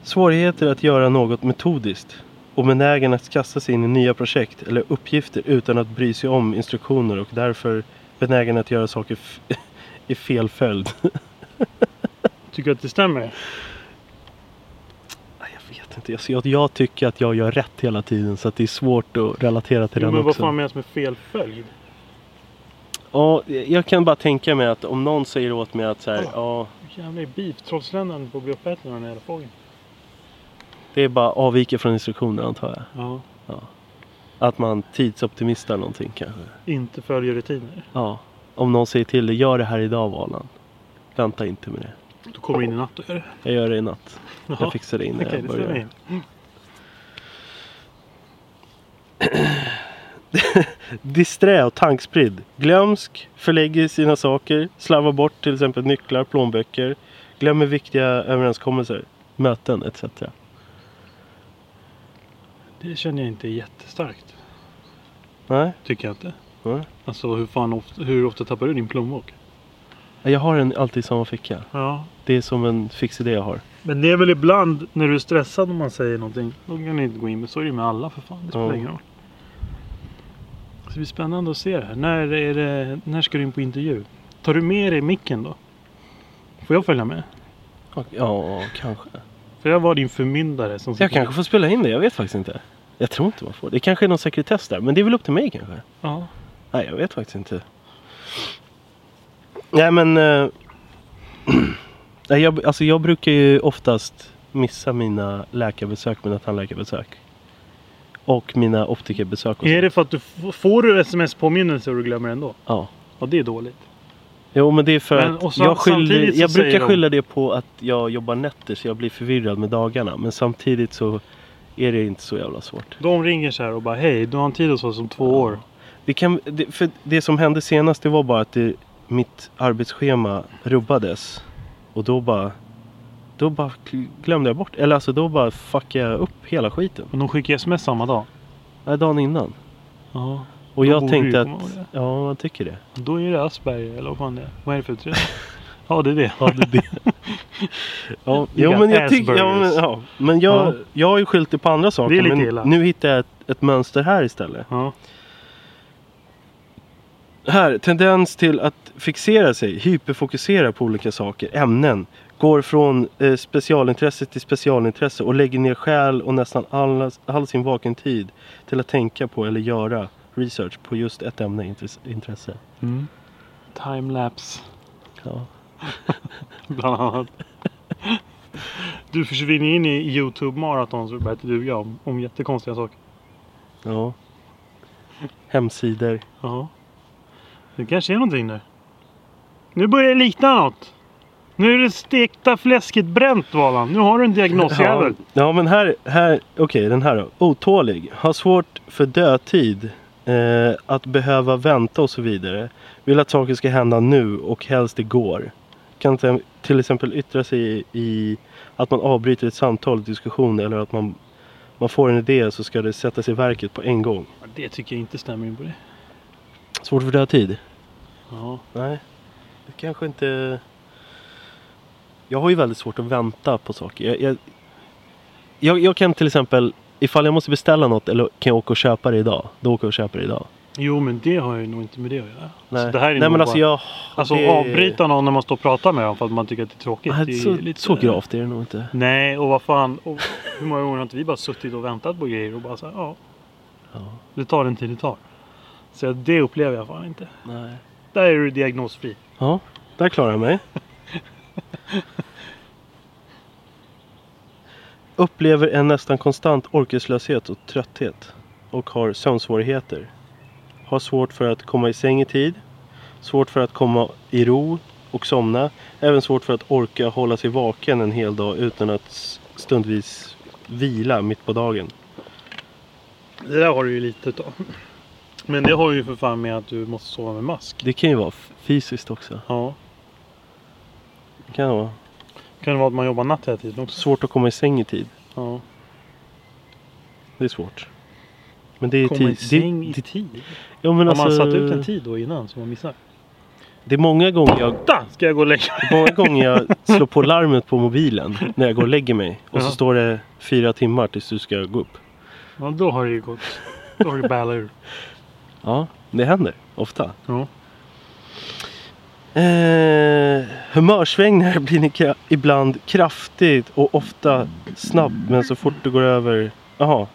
A: Svårigheter att göra något metodiskt. Och benägen att kasta sig in i nya projekt eller uppgifter utan att bry sig om instruktioner och därför benägen att göra saker f- i fel följd.
B: Tycker du att det stämmer?
A: Nej, Ah, Jag vet inte. Alltså, jag, jag tycker att jag gör rätt hela tiden så att det är svårt att relatera till
B: Jo,
A: den
B: men vad
A: också.
B: fan menas med fel följd?
A: Ja, jag kan bara tänka mig att om någon säger åt mig att så här,
B: Ja.
A: ja,
B: Jävlar i beef. Trollsländaren på gruppettan och den hela fågeln.
A: det är bara avvika från instruktioner antar jag.
B: Ja.
A: Att man tidsoptimistar någonting kanske.
B: Inte följer rutiner.
A: Ja. Om någon säger till dig, gör det här idag Valan. Vänta inte med det.
B: Då kommer du in i natt och gör det.
A: Jag gör det i natt.
B: Ja.
A: Jag fixar det innan
B: Okej,
A: jag
B: det stämmer
A: börjar.
B: in.
A: Disträ och tankspridd. Glömsk, förlägger sina saker, slarvar bort till exempel nycklar, plånböcker, glömmer viktiga överenskommelser, möten etc.
B: Det känner jag inte är jättestarkt.
A: Nej,
B: Tycker jag inte.
A: nej.
B: Alltså hur fan ofta, hur ofta tappar du din plånbok?
A: Jag har den alltid i samma ficka.
B: Ja.
A: Det är som en fix idé jag har.
B: Men det är väl ibland när du är stressad om man säger någonting. Då kan du inte gå in. Men så är det ju med alla för fan. Det spelar
A: Ja.
B: ingen roll. Så det blir spännande att se det här. När, är det, när ska du in på intervju? Tar du med dig micken då? Får jag följa med?
A: Och- Ja, kanske.
B: För jag var din förmyndare som...
A: Jag kanske får spela in det, jag vet faktiskt inte. Jag tror inte man får. Det kanske är någon sekretess där, men det är väl upp till mig kanske.
B: Ja.
A: Nej, jag vet faktiskt inte. Nej, men... eh, Nej, jag, alltså jag brukar ju oftast missa mina läkarbesök, mina tandläkarbesök. Och mina optikerbesök. Och
B: Är
A: sånt.
B: det för att du f- får du sms-påminnelser och du glömmer ändå?
A: Ja.
B: Ja, det är dåligt.
A: Jo, men det är för
B: Men,
A: att
B: och sam-
A: jag, skyller,
B: samtidigt så
A: jag brukar
B: säger de-
A: skylla det på att jag jobbar nätter så jag blir förvirrad med dagarna. Men samtidigt så är det inte så jävla svårt.
B: De ringer så här och bara hej, du har en tid hos oss om två år.
A: Det, kan, det, för det som hände senast det var bara att det, mitt arbetsschema rubbades. Och då bara, då bara gl- glömde jag bort. Eller alltså då bara fuckade jag upp hela skiten.
B: Men de skickar sms samma dag.
A: Nej, dagen innan.
B: Ja.
A: Och
B: Då
A: jag
B: borde
A: tänkte
B: ju
A: att,
B: komma ihåg det.
A: ja man tycker det.
B: Då är det Asperger eller vad fan det är. Vad är det för uttryck? Ja det är det.
A: Ja, det, det. ja,
B: You
A: jo,
B: got
A: men jag tycker, ja, men,
B: Aspergers.
A: ja, men jag,
B: Ja.
A: jag har ju skyllt det på andra saker.
B: Det är lite
A: men
B: illa.
A: nu hittar jag ett, ett mönster här istället.
B: Ja.
A: Här, tendens till att fixera sig, hyperfokusera på olika saker, ämnen. Går från eh, specialintresse till specialintresse och lägger ner själ och nästan all, all sin vaken tid till att tänka på eller göra research på just ett ämne intresse. intresse.
B: Mm. Timelapse
A: Ja.
B: bland annat. Du försvinner in i Youtube maraton så det börjar du och om, om jättekonstiga saker.
A: ja. Hemsidor.
B: Ja. Det kanske är någonting där. Nu börjar det likna något. Nu är det stekta fläsket bränt Valan. Nu har du en diagnosjävel.
A: Ja men här, här okej den här då. Otålig. Har svårt för dödtid. Eh, att behöva vänta och så vidare. Vill att saker ska hända nu och helst igår. Kan te- till exempel yttra sig i, i att man avbryter ett samtal, diskussion eller att man, man får en idé så ska det sättas i verket på en gång.
B: Ja. Det tycker jag inte stämmer in på det.
A: Svårt för dödtid?
B: Ja.
A: Nej. Det kanske inte... Jag har ju väldigt svårt att vänta på saker. Jag, jag, jag, jag kan till exempel, ifall jag måste beställa något eller kan jag åka och köpa det idag? Då åker jag och köper det idag.
B: Jo men det har ju nog inte med det att göra.
A: Nej,
B: Så det här är
A: Nej
B: nog
A: men alltså
B: bara-
A: jag...
B: Alltså
A: det-
B: avbryta någon när man står och pratar med dem för att man tycker att det är tråkigt.
A: Nej,
B: det är
A: så,
B: ju lite-
A: så gravt är det nog inte.
B: Nej, och vad fan. Och hur många gånger har inte vi bara suttit och väntat på grejer och bara så här, ja.
A: Ja.
B: Det tar den tid det tar. Så det upplever jag fan inte.
A: Nej.
B: Där är du diagnosfri.
A: Ja, där klarar jag mig. Upplever en nästan konstant orkeslöshet och trötthet. Och har sömnsvårigheter. Har svårt för att komma i säng i tid. Svårt för att komma i ro och somna. Även svårt för att orka hålla sig vaken en hel dag utan att s- stundvis vila mitt på dagen.
B: Det där har du ju lite utav. Men det har ju för fan med att du måste sova med mask.
A: Det kan ju vara f- fysiskt också.
B: Ja.
A: Det kan vara
B: Kan det vara att man jobbar natt hela tiden också?
A: svårt att komma i säng i tid.
B: Ja.
A: Det är svårt. Men det är
B: Komma i
A: tid. det-
B: säng i
A: det-
B: tid?
A: Ja, men
B: Har man
A: alltså,
B: satt ut en tid då innan som man missar?
A: Det är många gånger jag,
B: Da, ska jag gå och lägga mig?
A: många gånger jag slår på larmet på mobilen när jag går och lägger mig. Och så
B: Ja.
A: står det fyra timmar tills du ska gå upp.
B: Ja, då har det ju gått. Då har det ballat ur.
A: Ja, det händer ofta.
B: Ja.
A: Eh, humörsvängningar blir ni ka- ibland kraftigt och ofta snabbt. Men så fort du går över... Jaha.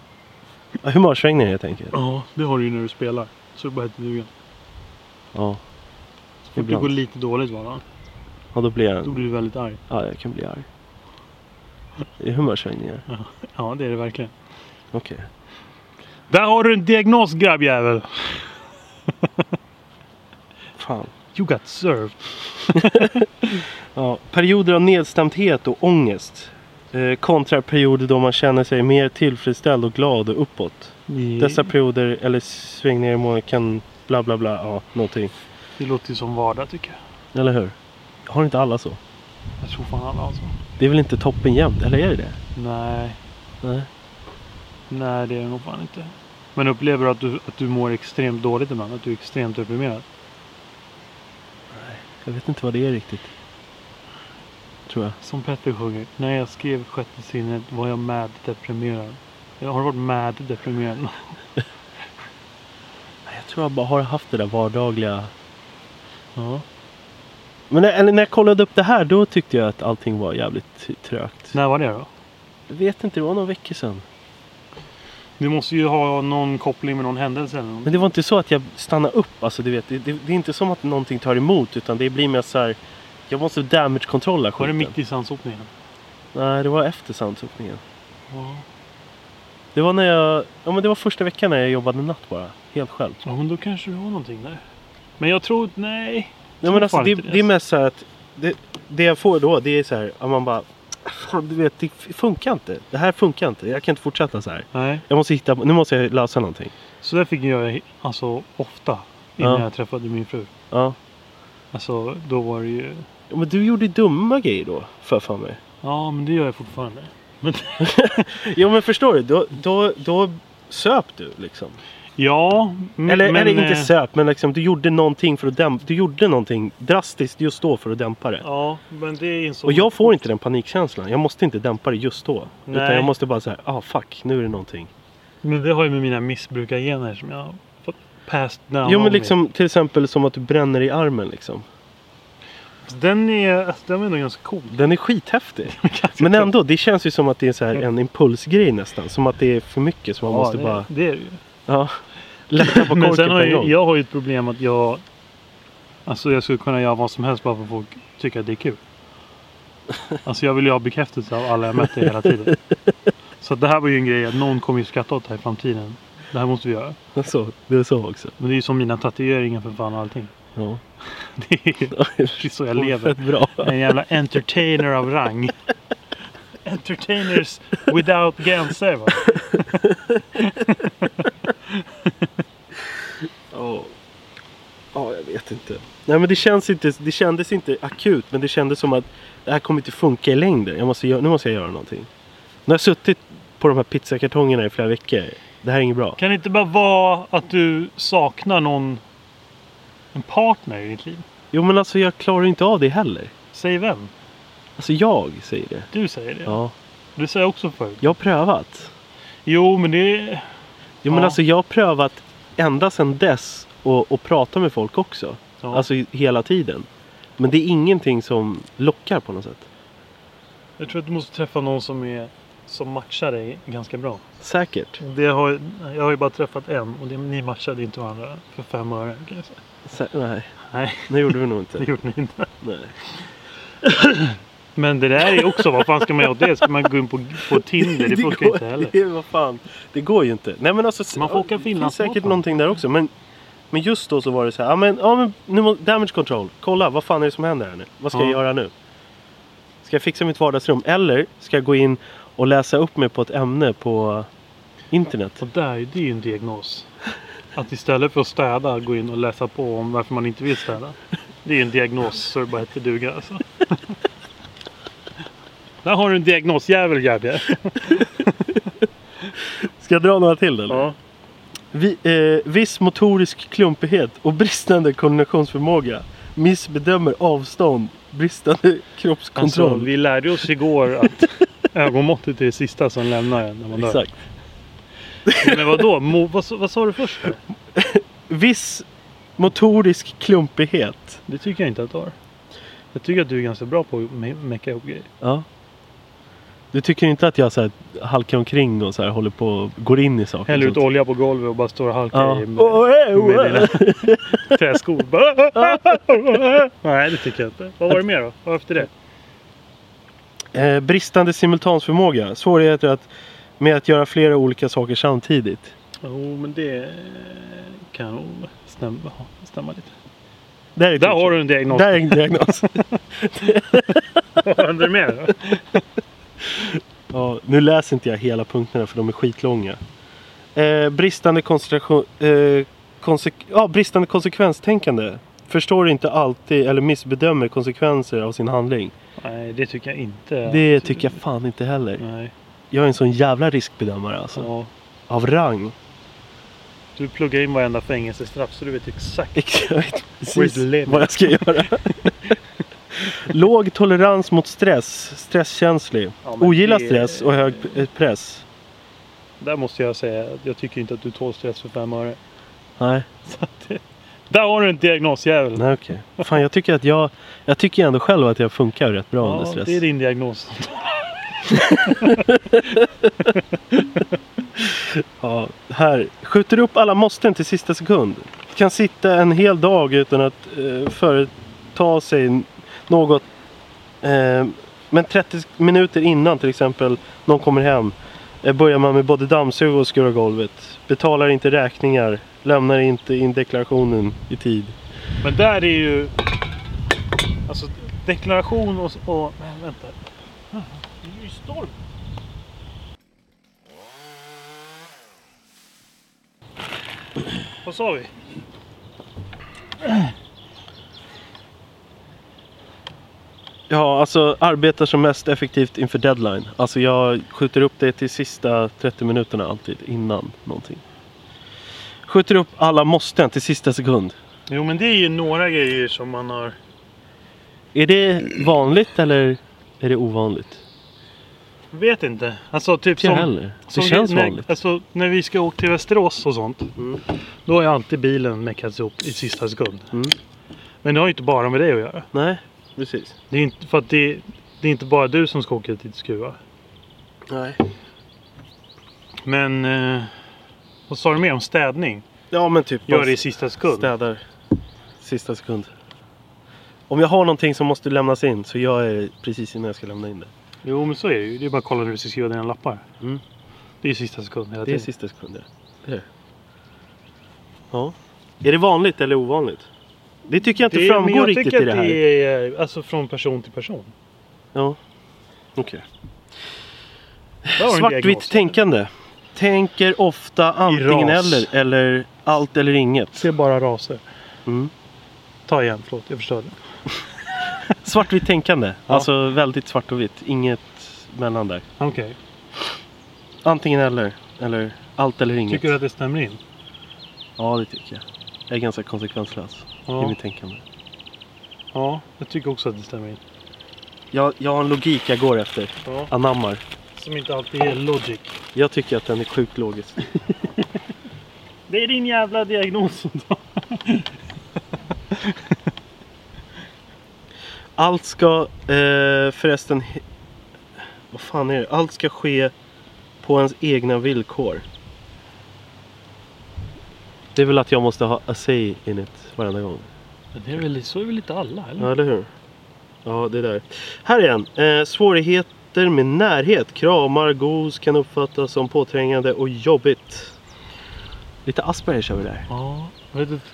A: Ja, Humörsvängningar helt enkelt.
B: Ja, det har du ju när du spelar. Så det bara heter duga.
A: Ja.
B: Så fort det
A: Ibland.
B: går lite dåligt va?
A: ja, då blir jag...
B: Då blir du väldigt arg.
A: Ja, jag kan bli arg. Det är humörsvängningar.
B: Ja, det är det verkligen.
A: Okej.
B: Där har du en diagnos grabbjävel!
A: Fan.
B: You got served.
A: Ja, perioder av nedstämdhet och ångest. Eh, kontra perioder då man känner sig mer tillfredsställd och glad och uppåt.
B: Mm.
A: Dessa perioder eller svängningar i månaden kan bla bla bla. Ja, någonting.
B: Det låter ju som vardag tycker jag.
A: Eller hur? Har inte alla så?
B: Jag tror fan alla har så.
A: Det är väl inte toppen jämt? Eller är det det?
B: Nej,
A: Nej.
B: nej det är det nog fan inte. Men upplever du att du, att du mår extremt dåligt ibland? Att du är extremt deprimerad?
A: Jag vet inte vad det är riktigt. Tror jag.
B: Som Petter sjunger. När jag skrev sjätte sinnet var jag mad deprimerad. Jag har varit mad deprimerad.
A: Nej, Jag tror jag bara har haft det där vardagliga.
B: Ja.
A: Men när, eller när jag kollade upp det här då tyckte jag att allting var jävligt trögt.
B: När var det då?
A: Jag vet inte, det var någon vecka sedan.
B: Du måste ju ha någon koppling med någon händelse eller något.
A: Men det var inte så att jag stannade upp. Alltså, du vet, det, det, det är inte som att någonting tar emot utan det blir mer så här. Jag måste damage kontrolla
B: Var det
A: skiten.
B: mitt i sandsopningen?
A: Nej, det var efter sandsopningen.
B: Ja.
A: Det var när jag... Ja, men det var första veckan när jag jobbade natt bara. Helt själv.
B: Ja, men då kanske du har någonting där. Men jag tror, nej.
A: Nej, men alltså,
B: fan
A: det,
B: inte det.
A: det är mest så här att... Det, det jag får då, det är så här att man bara... Fan, du vet, det funkar inte. Det här funkar inte. Jag kan inte fortsätta så här.
B: Nej.
A: Jag måste hitta... Nu måste jag lösa någonting.
B: Så där fick jag göra, alltså ofta innan
A: Ja.
B: jag träffade min fru.
A: Ja.
B: Alltså då var det ju,
A: ja men du gjorde dumma grejer då, för för mig.
B: ja men det gör jag fortfarande. Men
A: Jo, men förstår du? Då, då, då söp du liksom.
B: Ja, m-
A: Eller, eller inte
B: eh,
A: söp, men liksom, du gjorde någonting för att dämpa. Du gjorde någonting drastiskt just då för att dämpa det.
B: Ja, men det insåg
A: Och jag får inte den panikkänslan. Jag måste inte dämpa det just då. Utan
B: Nej.
A: jag måste bara säga, ah fuck, nu är det någonting.
B: Men det har ju med mina missbrukargener som jag har fått passed down.
A: jo
B: om
A: men
B: mig.
A: liksom till exempel som att du bränner i armen liksom.
B: Den är, alltså, den är nog ganska cool.
A: Den är skithäftig. men ändå, det känns ju som att det är så här en impulsgrej nästan. Som att det är för mycket som man måste
B: det,
A: bara...
B: det är det ju.
A: Ja. Lätta på
B: Men
A: korken
B: sen
A: på
B: har
A: en gång.
B: ju, jag har ju ett problem att jag... Alltså jag skulle kunna göra vad som helst bara för att folk tycker att det är kul. Alltså jag vill ju ha bekräftelse av alla jag mötte hela tiden. Så att det här var ju en grej att någon kommer ju skratta åt det här i framtiden. Det här måste vi göra.
A: Så, det är så också.
B: Men det är ju som mina tatueringar för fan och allting.
A: Ja.
B: Det är det är så jag lever.
A: Fett bra.
B: En jävla entertainer av rang. Entertainers without gränser va?
A: Ja. Ja, jag vet inte. Nej men det känns inte, det kändes inte akut men det kändes som att det här kommer inte funka i längden. Jag måste, gö- nu måste jag göra någonting. Nu har jag suttit på de här pizzakartongerna i flera veckor. Det här är inget bra.
B: Kan det inte bara vara att du saknar någon... En partner i ditt liv?
A: Jo men alltså jag klarar inte av det heller.
B: Säg vem?
A: Alltså jag säger det.
B: Du säger det.
A: Ja.
B: Det sa jag också förut.
A: Jag har prövat.
B: Jo, men det...
A: Jo men
B: Ja.
A: alltså jag har prövat ända sedan dess och, och prata med folk också.
B: Ja.
A: Alltså i- hela tiden. Men det är ingenting som lockar på något sätt.
B: Jag tror att du måste träffa någon som, är, som matchar dig ganska bra.
A: Säkert.
B: Det har, jag har ju bara träffat en och det, ni matchade inte varandra för fem öre. kan jag säga.
A: Sä- nej,
B: Nej,
A: det gjorde vi nog
B: det
A: inte.
B: gjorde ni inte.
A: Nej.
B: Men det där är också, vad fan ska man göra åt det? Ska man gå in på, på Tinder? Det funkar ju
A: går,
B: inte heller.
A: Det, vad fan. det går ju inte. Nej, men alltså,
B: Man får åka
A: det finns
B: Finlandsbåt,
A: säkert
B: va?
A: någonting där också. Men, men just då så var det så här. Ja men, ja, men nu, må- damage control. Kolla vad fan är det som händer här nu? Vad ska
B: Ja.
A: jag göra nu? Ska jag fixa mitt vardagsrum? Eller ska jag gå in och läsa upp mig på ett ämne på internet?
B: Och där, det är ju en diagnos. Att istället för att städa gå in och läsa på om varför man inte vill städa. Det är ju en diagnos så det bara heter duga alltså. Där har du en diagnosjävel Gabbe.
A: Ska jag dra några till eller? Vi, eh, viss motorisk klumpighet och bristande koordinationsförmåga. Missbedömer avstånd. Bristande kroppskontroll.
B: Alltså, vi lärde oss igår att ögonmåttet är det sista som lämnar en när man dör.
A: Exakt.
B: Men vadå? Mo- vad, sa- vad sa du först? då?
A: Viss motorisk klumpighet.
B: Det tycker jag inte att du har. Jag tycker att du är ganska bra på att me- mecka ihop grejer.
A: Ja. Du tycker inte att jag så här, halkar omkring och så här, håller på och går in i saker?
B: Häller ut
A: sånt?
B: olja på golvet och bara står och halkar
A: ja.
B: i med,
A: Oh, eh, oh,
B: med
A: eh.
B: dina träskor. Nej, det tycker jag inte. Vad var det mer då? Vad var efter det?
A: Eh, bristande simultansförmåga. Svårigheter att, med att göra flera olika saker samtidigt.
B: Jo, men det kan nog stämma, stämma lite.
A: Där, är
B: Där har du en diagnos.
A: Där är en diagnos.
B: Vad händer mer då?
A: ja, nu läser inte jag hela punkterna för de är skitlånga. Eh, bristande koncentration... Eh, konsek- ja, bristande konsekvenstänkande. Förstår inte alltid eller missbedömer konsekvenser av sin handling.
B: Nej, det tycker jag inte. att-
A: Det tycker jag fan inte heller.
B: Nej.
A: Jag är en sån jävla riskbedömare alltså.
B: Ja.
A: Av rang.
B: Du pluggar in varenda fängelsestraff så du vet exakt.
A: Exakt.
B: Where's the limit?
A: vad jag ska göra. Låg tolerans mot stress. Stresskänslig.
B: Ja, men
A: Ogillar
B: det-
A: stress och hög p- press.
B: Där måste jag säga att jag tycker inte att du tål stress för fem öre.
A: Nej,
B: Där har du en diagnosjävel.
A: nej okej. Fan jag tycker att jag... Jag tycker ändå själv att jag funkar rätt bra under
B: Ja,
A: stress.
B: det är din diagnos.
A: Ja, här. Skjuter upp alla måsten till sista sekund. Kan sitta en hel dag utan att eh, företa sig n- något. Eh, men 30 s- minuter innan till exempel någon kommer hem. Eh, börjar man med både dammsuga och skura golvet. Betalar inte räkningar. Lämnar inte in deklarationen i tid.
B: Men där är ju... Alltså deklaration och... och men vänta. Det är ju storm. Vad sa vi?
A: Ja, alltså arbetar som mest effektivt inför deadline. Alltså jag skjuter upp det till sista 30 minuterna alltid innan någonting. Skjuter upp alla måsten till sista sekund.
B: Jo men det är ju några grejer som man har...
A: Är det vanligt eller är det ovanligt?
B: Vet inte. Alltså typ
A: Inte jag heller. Det
B: som
A: känns
B: vi, när,
A: vanligt.
B: Alltså när vi ska åka till Västerås och sånt. Då har ju alltid bilen meckats ihop i sista sekund.
A: Mm.
B: Men det har ju inte bara med det att göra.
A: Nej, precis.
B: Det är inte, för att det, det är inte bara du som ska åka dit och skruva.
A: Nej.
B: Men... Eh, vad sa du mer om städning?
A: Ja men typ.
B: Gör
A: bara
B: det i sista sekund.
A: Städar. Sista sekund. Om jag har någonting som måste lämnas in så gör jag det precis innan jag ska lämna in det.
B: Jo men så är det ju. Det är bara att kolla när du ska skriva dina lappar.
A: Mm.
B: Det är ju sista sekund hela
A: Det är
B: tiden.
A: sista sekunden. Det är det. Ja. Är det vanligt eller ovanligt? Det tycker jag inte
B: Det är- men
A: framgår
B: jag
A: riktigt
B: tycker
A: i det
B: att
A: här.
B: Det är, alltså från person till person.
A: Ja. Okej.
B: Där har du en diagnos.
A: Svartvitt tänkande. Tänker ofta antingen
B: ras.
A: eller, eller allt eller inget.
B: Ser bara raser.
A: Mm.
B: Ta igen, förlåt. Jag förstörde.
A: Svartvitt tänkande.
B: Ja.
A: Alltså väldigt svart och vitt. Inget mellan där.
B: Okej.
A: Antingen eller. Eller allt eller inget.
B: Tycker du att det stämmer in?
A: Ja, det tycker jag. Jag är ganska konsekvenslös i
B: Ja.
A: mitt tänkande.
B: ja, jag tycker också att det stämmer in.
A: Jag, jag har en logik jag går efter.
B: Ja.
A: Anammar.
B: Som inte alltid är logic.
A: Jag tycker att den är sjukt logisk.
B: Det är din jävla diagnos.
A: Allt ska eh, förresten... he- Vad fan är det? Allt ska ske på ens egna villkor. Det är väl att jag måste ha a say in it varenda gång.
B: det är väl, så är väl lite alla, eller?
A: Ja, eller hur? Ja, det där. Här igen. Eh, svårigheter med närhet. Kramar, gos kan uppfattas som påträngande och jobbigt. Lite Aspergers över det där.
B: Ja. Jag vet inte.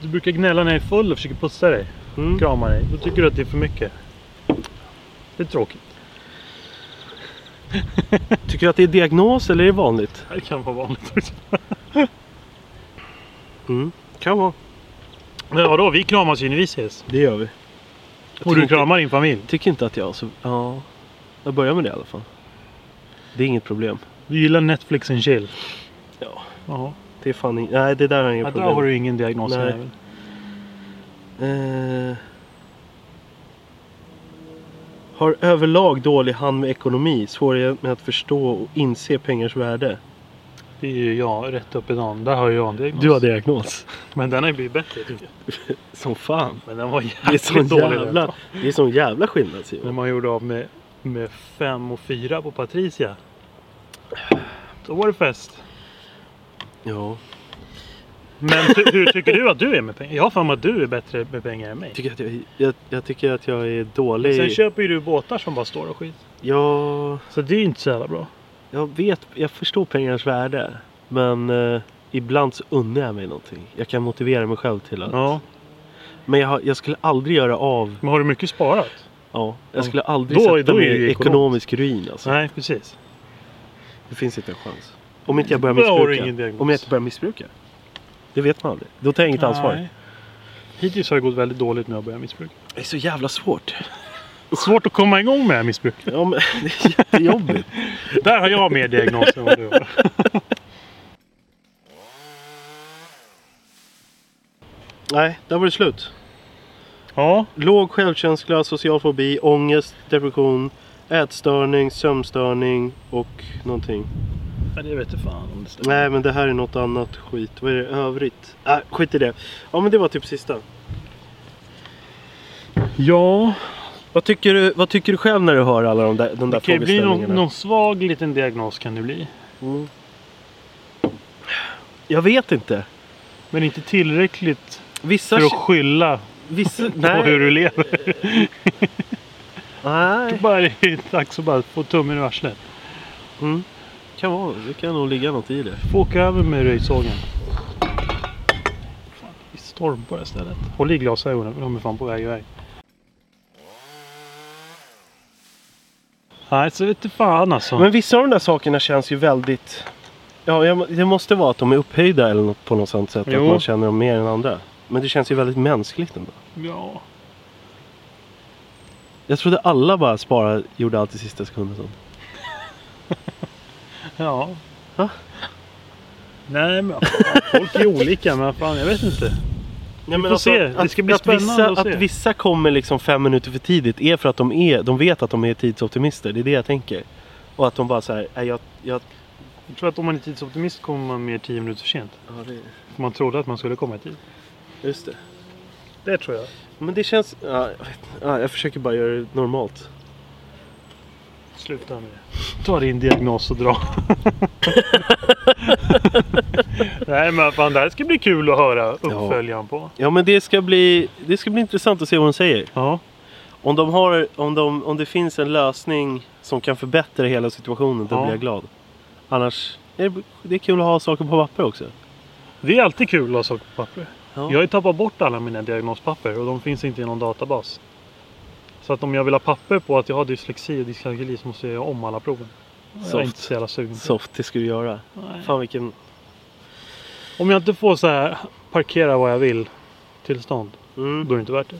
B: Du brukar gnälla när jag är full och försöker pussa dig.
A: Mm.
B: Krama dig. Då tycker du att det är för mycket. Det är tråkigt.
A: Tycker du att det är diagnos eller är det vanligt?
B: Det kan vara vanligt också.
A: Kan vara.
B: Men vadå, vi kramas ju när vi ses.
A: Det gör vi.
B: Och du kramar din familj.
A: Tycker inte att jag så... Ja. Jag börjar med det i alla fall. Det är inget problem.
B: Du gillar Netflix and chill.
A: Ja.
B: Ja.
A: Det är fan in... Nej, det där har jag
B: Ja,
A: inget
B: där
A: problem
B: har du ingen diagnos.
A: Nej.
B: jävel.
A: Eh... Har överlag dålig hand med ekonomi. Svårighet med att förstå och inse pengars värde.
B: Det är ju jag rätt upp i dagen. Där har jag en diagnos.
A: diagnos.
B: Men den har ju blivit bättre tycker jag.
A: Som fan.
B: Men den var
A: Det är
B: jävligt
A: sån
B: dålig.
A: jävla, det är sån jävla skillnad
B: När
A: Simon.
B: man gjorde av med, med fem och fyra på Patricia. Då var det fest.
A: Ja.
B: Men ty- hur tycker du att du är med pengar? Jag har för mig att du är bättre med pengar än mig.
A: Jag tycker att jag, jag, jag, tycker att jag är
B: Sen
A: dålig.
B: köper ju du båtar som bara står och skit.
A: Jag,
B: Så det är ju inte så jävla bra.
A: jag vet, jag förstår pengars värde. Men eh, ibland så unnar jag mig någonting. Jag kan motivera mig själv till att.
B: Ja.
A: Men jag, har- jag skulle aldrig göra av.
B: Men har du mycket sparat?
A: Ja,
B: Ja.
A: jag skulle aldrig
B: Då-
A: sätta
B: då är
A: mig
B: det ju
A: i ekonomisk ruin alltså.
B: Nej, precis.
A: Det finns inte en chans. Om inte jag börjar
B: Då har du
A: missbruka.
B: ingen diagnos.
A: Om jag inte börjar missbruka. Det vet man aldrig. Då tar jag inget ansvar.
B: Nej. Hittills har det gått väldigt dåligt när jag börjat missbruka.
A: Det är så jävla svårt.
B: Svårt att komma igång med det här missbruket.
A: Ja, men, det är jättejobbigt.
B: Där har jag mer diagnos än vad du har.
A: Nej, där var det slut.
B: Ja.
A: Låg självkänsla, social fobi, ångest, depression, ätstörning, sömnstörning och någonting.
B: Men det vet du fan om det stämmer.
A: Nej, men det här är något annat skit. Vad är det övrigt? Äh, skit i det. Ja, men det var typ sista.
B: Ja,
A: Vad tycker du, vad tycker du själv när du hör alla de där, de där
B: det kan ju bli någon,
A: frågeställningarna?
B: någon svag liten diagnos kan det bli.
A: Mm. Jag vet inte.
B: Men inte tillräckligt
A: Vissa...
B: för att skylla
A: vissa
B: på
A: nej.
B: hur du lever.
A: nej.
B: Bara det är dags att bara få tummen ur arslet.
A: Mm. Kan vara. Det kan nog ligga något i det.
B: Få åka över med röjsågen. Fan, det är storm på det här stället. Håll i glasögonen för de är fan på väg iväg. Nej, så vet du fan alltså.
A: Men vissa av de där sakerna känns ju väldigt... Ja, jag- det måste vara att de är upphöjda eller något, på något sånt sätt.
B: Jo.
A: Att man känner dem mer än andra. Men det känns ju väldigt mänskligt ändå.
B: Ja.
A: Jag trodde alla bara sparade, gjorde allt i sista sekunden. och sånt.
B: Ja.
A: Va?
B: Nej men fan, folk är olika men fan jag vet inte.
A: Nej, alltså,
B: får se. Det ska bli
A: att,
B: spännande
A: vissa,
B: att se.
A: vissa kommer liksom fem minuter för tidigt är för att de, är, de vet att de är tidsoptimister. Det är det jag tänker. Och att de bara så här, "Nej, jag, jag...
B: Jag tror att om man är tidsoptimist kommer man mer 10 minuter för sent.
A: Ja, det,
B: För man trodde att man skulle komma i tid.
A: just det.
B: Det tror jag.
A: Men det känns... Ja, jag, vet, inte. ja, jag försöker bara göra det normalt.
B: Sluta med det. Ta din diagnos och dra. Nej men fan det här ska bli kul att höra uppföljaren på.
A: Ja, men det ska bli, det ska bli intressant att se vad hon säger.
B: Ja.
A: Om, de har, om, de, om det finns en lösning som kan förbättra hela situationen, då
B: Ja.
A: blir jag glad. Annars, är det, det är kul att ha saker på papper också.
B: Mm. Det är alltid kul att ha saker på papper.
A: Ja.
B: Jag har ju tappat bort alla mina diagnospapper och de finns inte i någon databas. Så att om jag vill ha papper på att jag har dyslexi och dyskalkyli så måste jag göra om alla proven. Jag är
A: Soft.
B: inte så jävla sugen. på det.
A: Soft, det ska du göra.
B: Nej.
A: Fan vilken...
B: Om jag inte får så här parkera vad jag vill tillstånd,
A: Mm.
B: då är det inte värt det.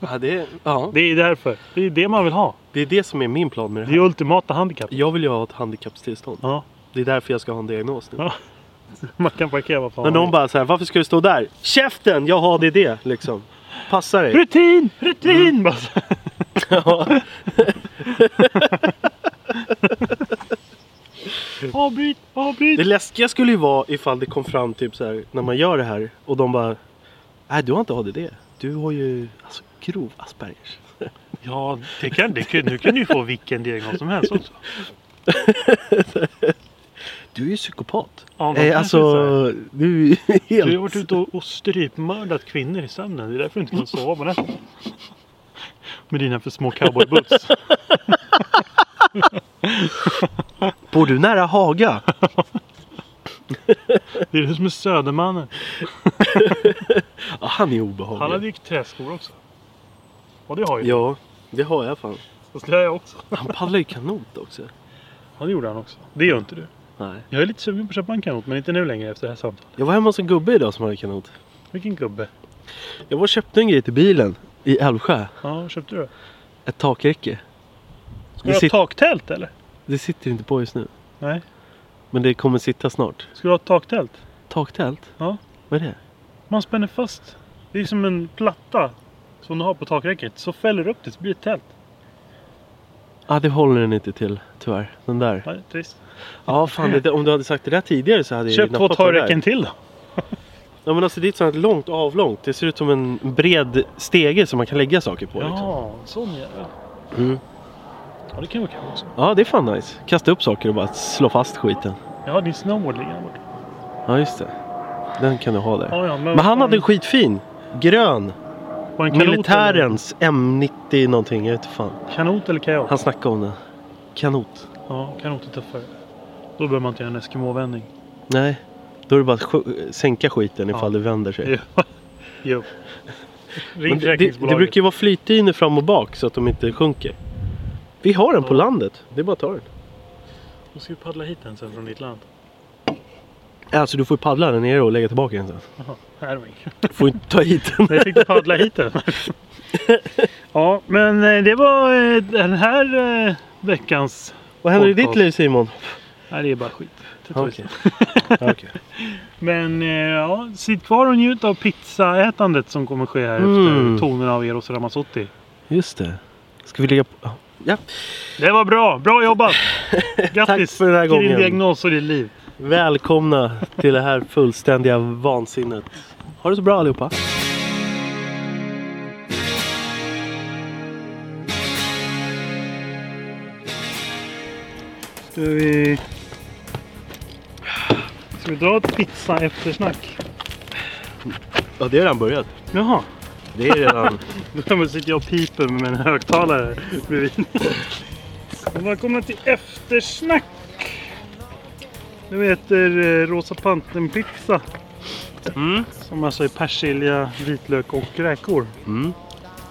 A: Ja, det, ja.
B: Det är därför. Det är det man vill ha.
A: det är det som är min plan med det
B: Det är
A: här.
B: ultimata handikapp.
A: Jag vill ju ha ett handikappstillstånd.
B: Ja.
A: Det är därför jag ska ha en diagnos nu.
B: Ja, Man kan parkera vad fan
A: När
B: man
A: någon
B: vill.
A: bara så här, varför ska du stå där? Käften! Jag har det, det liksom. Passa dig.
B: Rutin! Mm. Rutin! Bara så här.
A: Ja.
B: Avbryt! Avbryt!
A: Det läskiga skulle ju vara ifall det kom fram typ så här när man gör det här och de bara Nej du har inte ADD. Du har ju alltså, grov Aspergers.
B: Ja, det kan, det kan, nu kan du ju få vilken diagnos som helst också.
A: Du är ju psykopat.
B: Ja,
A: Eh, alltså du är ju
B: Du har ju
A: helt...
B: varit ute och, och strypmördat kvinnor i sömnen. Det är därför du inte kan sova på nätterna. Med dina för små cowboyboots.
A: Bor du nära Haga?
B: Det är du som är Södermannen.
A: Ja, han är
B: Han hade
A: obehaglig.
B: ju träskor också. Och det har ju.
A: Ja, det har jag fan.
B: Fast det har jag också.
A: Han paddlar ju kanot också.
B: Ja, det gjorde han också. Det gör inte du.
A: Nej.
B: Jag är lite sugen på att köpa en kanot, men inte nu längre efter det här samtalet.
A: Jag var hemma hos en gubbe idag som hade kanot.
B: Vilken gubbe.
A: Jag var och köpte en grej till bilen i Älvsjö.
B: Ja, vad köpte du då?
A: Ett takräcke. Det,
B: Ska du ha
A: sit-
B: taktält eller?
A: det sitter inte på just nu.
B: Nej.
A: Men det kommer sitta snart.
B: Ska du ha taktält?
A: Taktält?
B: Ja.
A: Vad är det?
B: Man spänner fast. Det är som en platta som du har på takräcket. Så fäller du upp det så blir det ett tält.
A: Ja, ah, det håller den inte till tyvärr. Den där.
B: Nej, trist.
A: Ja, fan det, om du hade sagt det där tidigare så hade jag
B: Köp
A: ju
B: två
A: nappat på det där.
B: takräcken till då.
A: Ja, men alltså det är ett sånt här långt avlångt. Det ser ut som en bred stege som man kan lägga saker på. Liksom.
B: Ja, sån jävel.
A: Mm.
B: Ja, det kan vara kul också.
A: Ja, det är fan nice. Kasta upp saker och bara slå fast skiten.
B: Jag har din snowboard liggande borta.
A: Ja, just det. Den kan du ha där.
B: Ja, ja, men
A: Men han hade en skitfin. Grön.
B: var en kanot eller-
A: Militärens M90 någonting. Jag vet inte fan.
B: Kanot eller kajak?
A: Han snackade om den. Kanot.
B: Ja, kanot är tuffare. Då behöver man inte göra en Eskimo-vändning.
A: Nej. Då är det bara att sj- sänka skiten
B: Ja.
A: ifall det vänder sig.
B: Jo. jo.
A: Men
B: Ring
A: det, det, det
B: försäkringsbolaget.
A: brukar ju vara flytdyner fram och bak så att de inte sjunker. Vi har den på
B: Ja.
A: landet. Det är bara att ta den.
B: Då ska vi paddla hit den sen från ditt land.
A: Alltså du får ju paddla den nere och lägga tillbaka den sen.
B: Jaha, här var ingen.
A: Du får ju inte ta hit den.
B: Nej, jag fick paddla hit den. ja, men eh, det var eh, den här eh, veckans...
A: Vad händer i
B: Podcast.
A: ditt liv Simon?
B: Nej, det är bara skit. Det tar vi sen.
A: Okej.
B: Men eh, ja, sitt kvar och njut av pizzaätandet som kommer ske här
A: Mm.
B: efter tonen av Eros Ramazzotti.
A: Just det. Ska vi lägga på... Ja.
B: Det var bra! Bra jobbat! Grattis
A: för den här
B: till
A: gången.
B: din diagnos och ditt liv.
A: Välkomna till det här fullständiga vansinnet. Ha det så bra allihopa.
B: Ska vi... Ska vi dra ett pizza-eftersnack?
A: Ja det är redan börjat.
B: Jaha.
A: Det är redan...
B: Då sitter jag och piper med en högtalare bredvid. Välkomna till eftersnack! Nu äter eh, Rosa Pantern-pizza.
A: Mm.
B: Som alltså är persilja, vitlök och räkor.
A: Mm.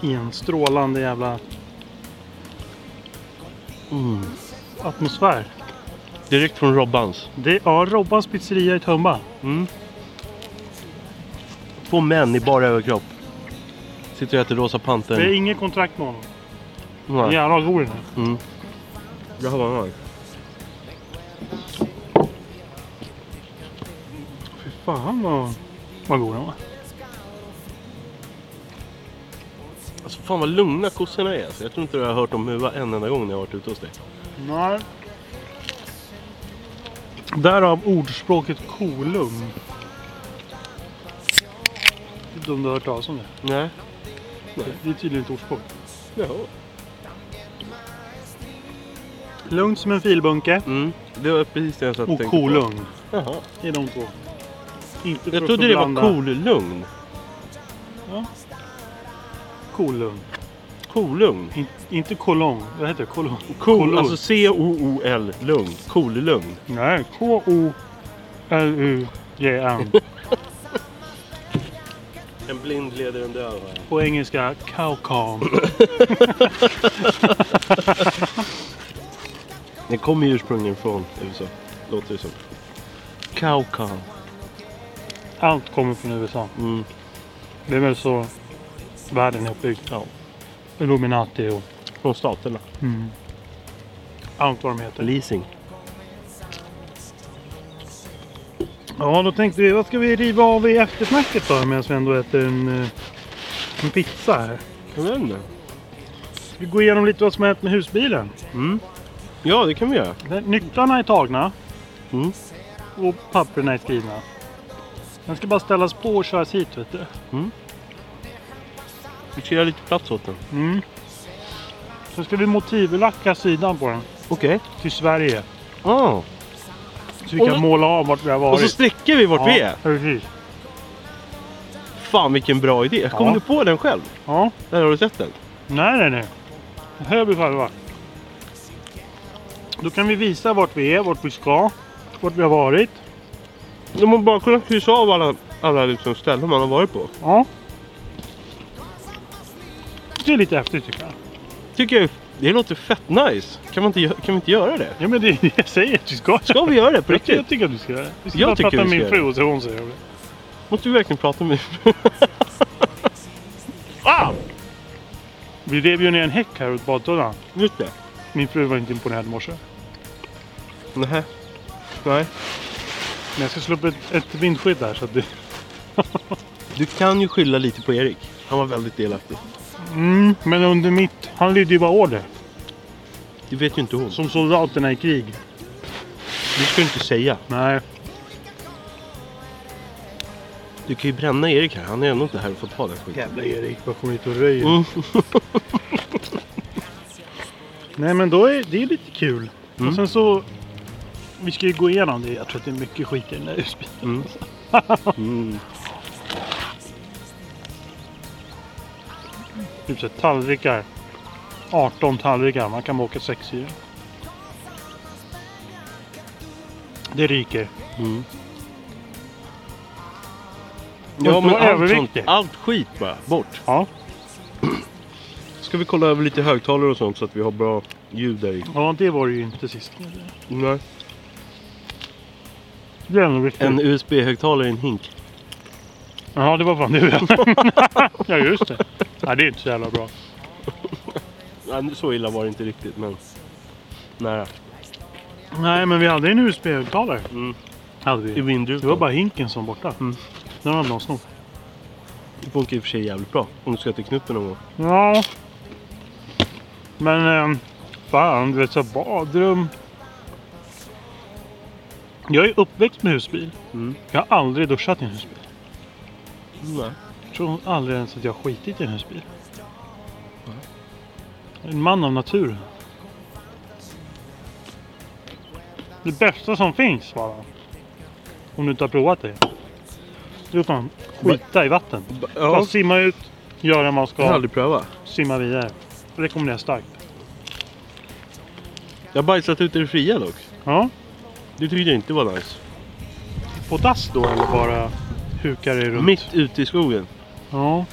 B: I en strålande jävla
A: Mm.
B: atmosfär.
A: Direkt från Robbans.
B: Det är Robbans pizzeria i Tumba.
A: Mm. Två män i bara överkropp. Sitter och äter Rosa
B: Det är
A: Pantern.
B: inget kontrakt med honom.
A: Nej.
B: Jävlar vad god den är.
A: Det här var nice.
B: Fan vad, vad god den var.
A: Alltså fan vad lugna kossorna är. Alltså. Jag tror inte du har hört om Mua en enda gång när jag har varit ute hos dig.
B: Nej. Därav ordspråket kolugn. Jag vet inte om du har hört talas om det.
A: Nej.
B: Det- Det är tydligen ett ordspråk.
A: Jaha.
B: Lugnt som en filbunke
A: Mm. Det var precis det jag satt
B: och
A: tänkte på.
B: kolugn.
A: Jaha.
B: Det är de två. Inte för
A: Jag
B: att
A: trodde det var
B: förblanda.
A: kolugn.
B: Kolugn.
A: Kolugn.
B: In, inte kolong. Vad heter det? Kolong.
A: Kol,
B: Kolugn.
A: alltså C-O-O-L, lugn. Kolugn.
B: Nej, K-O-L-U-G-N.
A: En blind leder en döv.
B: På engelska Kaukalm.
A: Den kommer ju ursprungligen från USA. Låter det som. Kaukau.
B: Allt kommer från USA.
A: Mm.
B: Det är väl så världen är uppbyggd.
A: Ja.
B: Illuminati och
A: Från staterna.
B: allt vad de heter.
A: Leasing.
B: Ja, då tänkte vi, vad ska vi riva av i eftersnacket då? Medan vi ändå äter en, eh, en pizza här.
A: Jag vet inte.
B: Vi går igenom lite vad som har hänt med husbilen.
A: Mm. Ja, det kan vi göra.
B: Där- Nycklarna är tagna.
A: Mm.
B: Och papperna är skrivna. Den ska bara ställas på och köras hit vet du.
A: Vi ska göra lite plats åt den.
B: Mm. Så ska vi motivlacka sidan på den.
A: Okej.
B: Till Sverige.
A: Ah.
B: Så vi
A: Och
B: kan
A: så-
B: måla av vart vi har
A: Och så
B: varit.
A: sträcker vi vart vi är.
B: ja, precis.
A: Fan vilken bra idé. Kom
B: Ja.
A: du på den själv?
B: Ja.
A: Där har du sett den.
B: Nej, nej, nej. Det här är vi själva. Då kan vi visa vart vi är, vart vi ska, vart vi har varit.
A: De har bara kunnat kryssa av alla, alla liksom ställen man har varit på.
B: Ja. Det är lite häftigt tycker jag.
A: Tycker jag, det låter fett nice. Kan, man inte, gö- kan vi inte göra det?
B: Ja men det är det jag säger att vi ska.
A: Ska vi göra det på
B: Jag,
A: riktigt?
B: ty- jag tycker att du ska göra det. Vi ska
A: Jag
B: bara
A: tycker
B: prata med
A: vi ska
B: min
A: göra
B: fru och se vad hon säger om det.
A: Måste vi verkligen prata med... ah!
B: Vi rev ju ner en häck här åt badtunnan.
A: Just det.
B: Min fru var inte imponerad i morse.
A: Nähä. Nej.
B: Men jag ska slå upp ett, ett vindskydd där så att det...
A: Du kan ju skylla lite på Erik. Han var väldigt delaktig.
B: Mm, men under mitt... Han lydde ju bara order.
A: Det vet ju inte hon.
B: Som soldaterna i krig.
A: Du ska ju inte säga.
B: Nej.
A: Du kan ju bränna Erik här. Han är ändå inte här och får ta den skiten.
B: Jävla Erik, bara kommer hit och röjer.
A: Mm.
B: Nej men då är det är lite kul.
A: Mm.
B: Och sen så... Vi ska ju gå igenom det. Jag tror att det är mycket skit i den där husbilen.
A: Mm.
B: Typ så här, tallrikar. 18 tallrikar. Man kan bara åka 6 i. Det ryker.
A: Mm.
B: Ja, men
A: allt, sånt,
B: överviktig.
A: allt skit bara. Bort.
B: Ja.
A: Ska vi kolla över lite högtalare och sånt så att vi har bra ljud där i?
B: Ja, det var det ju inte sist.
A: Nej.
B: Det är nog riktigt.
A: En USB-högtalare i en hink.
B: Ja, det var fan du ja. ja, just det. Ja, det är inte så jävla bra.
A: Ja, så illa var det inte riktigt men... Nära.
B: Nej, men vi hade en USB-högtalare.
A: Mm.
B: Hade
A: I
B: vi. Det
A: vindrutan.
B: var bara hinken som var borta.
A: Mm.
B: Den hade någon snott.
A: Det funkar i och för sig jävligt bra. Om du ska till knuppen någon gång.
B: Ja. Men ehm, fan, du vet så här badrum. Jag är uppväxt med husbil.
A: Mm.
B: Jag har aldrig duschat i en husbil.
A: Nej.
B: Jag tror aldrig ens att jag har skitit i en husbil. En man av naturen. Det bästa som finns var det. Om du inte har provat det. Det är fan skita i vatten. Bara
A: Ja.
B: simma ut, göra vad man ska,
A: Jag har aldrig prövat.
B: simma vidare. Rekommenderar starkt.
A: Jag har bajsat ut i det fria dock.
B: Ja.
A: Det tyckte jag inte var nice.
B: På dass då eller bara hukar dig runt?
A: Mitt ute i skogen.
B: Ja.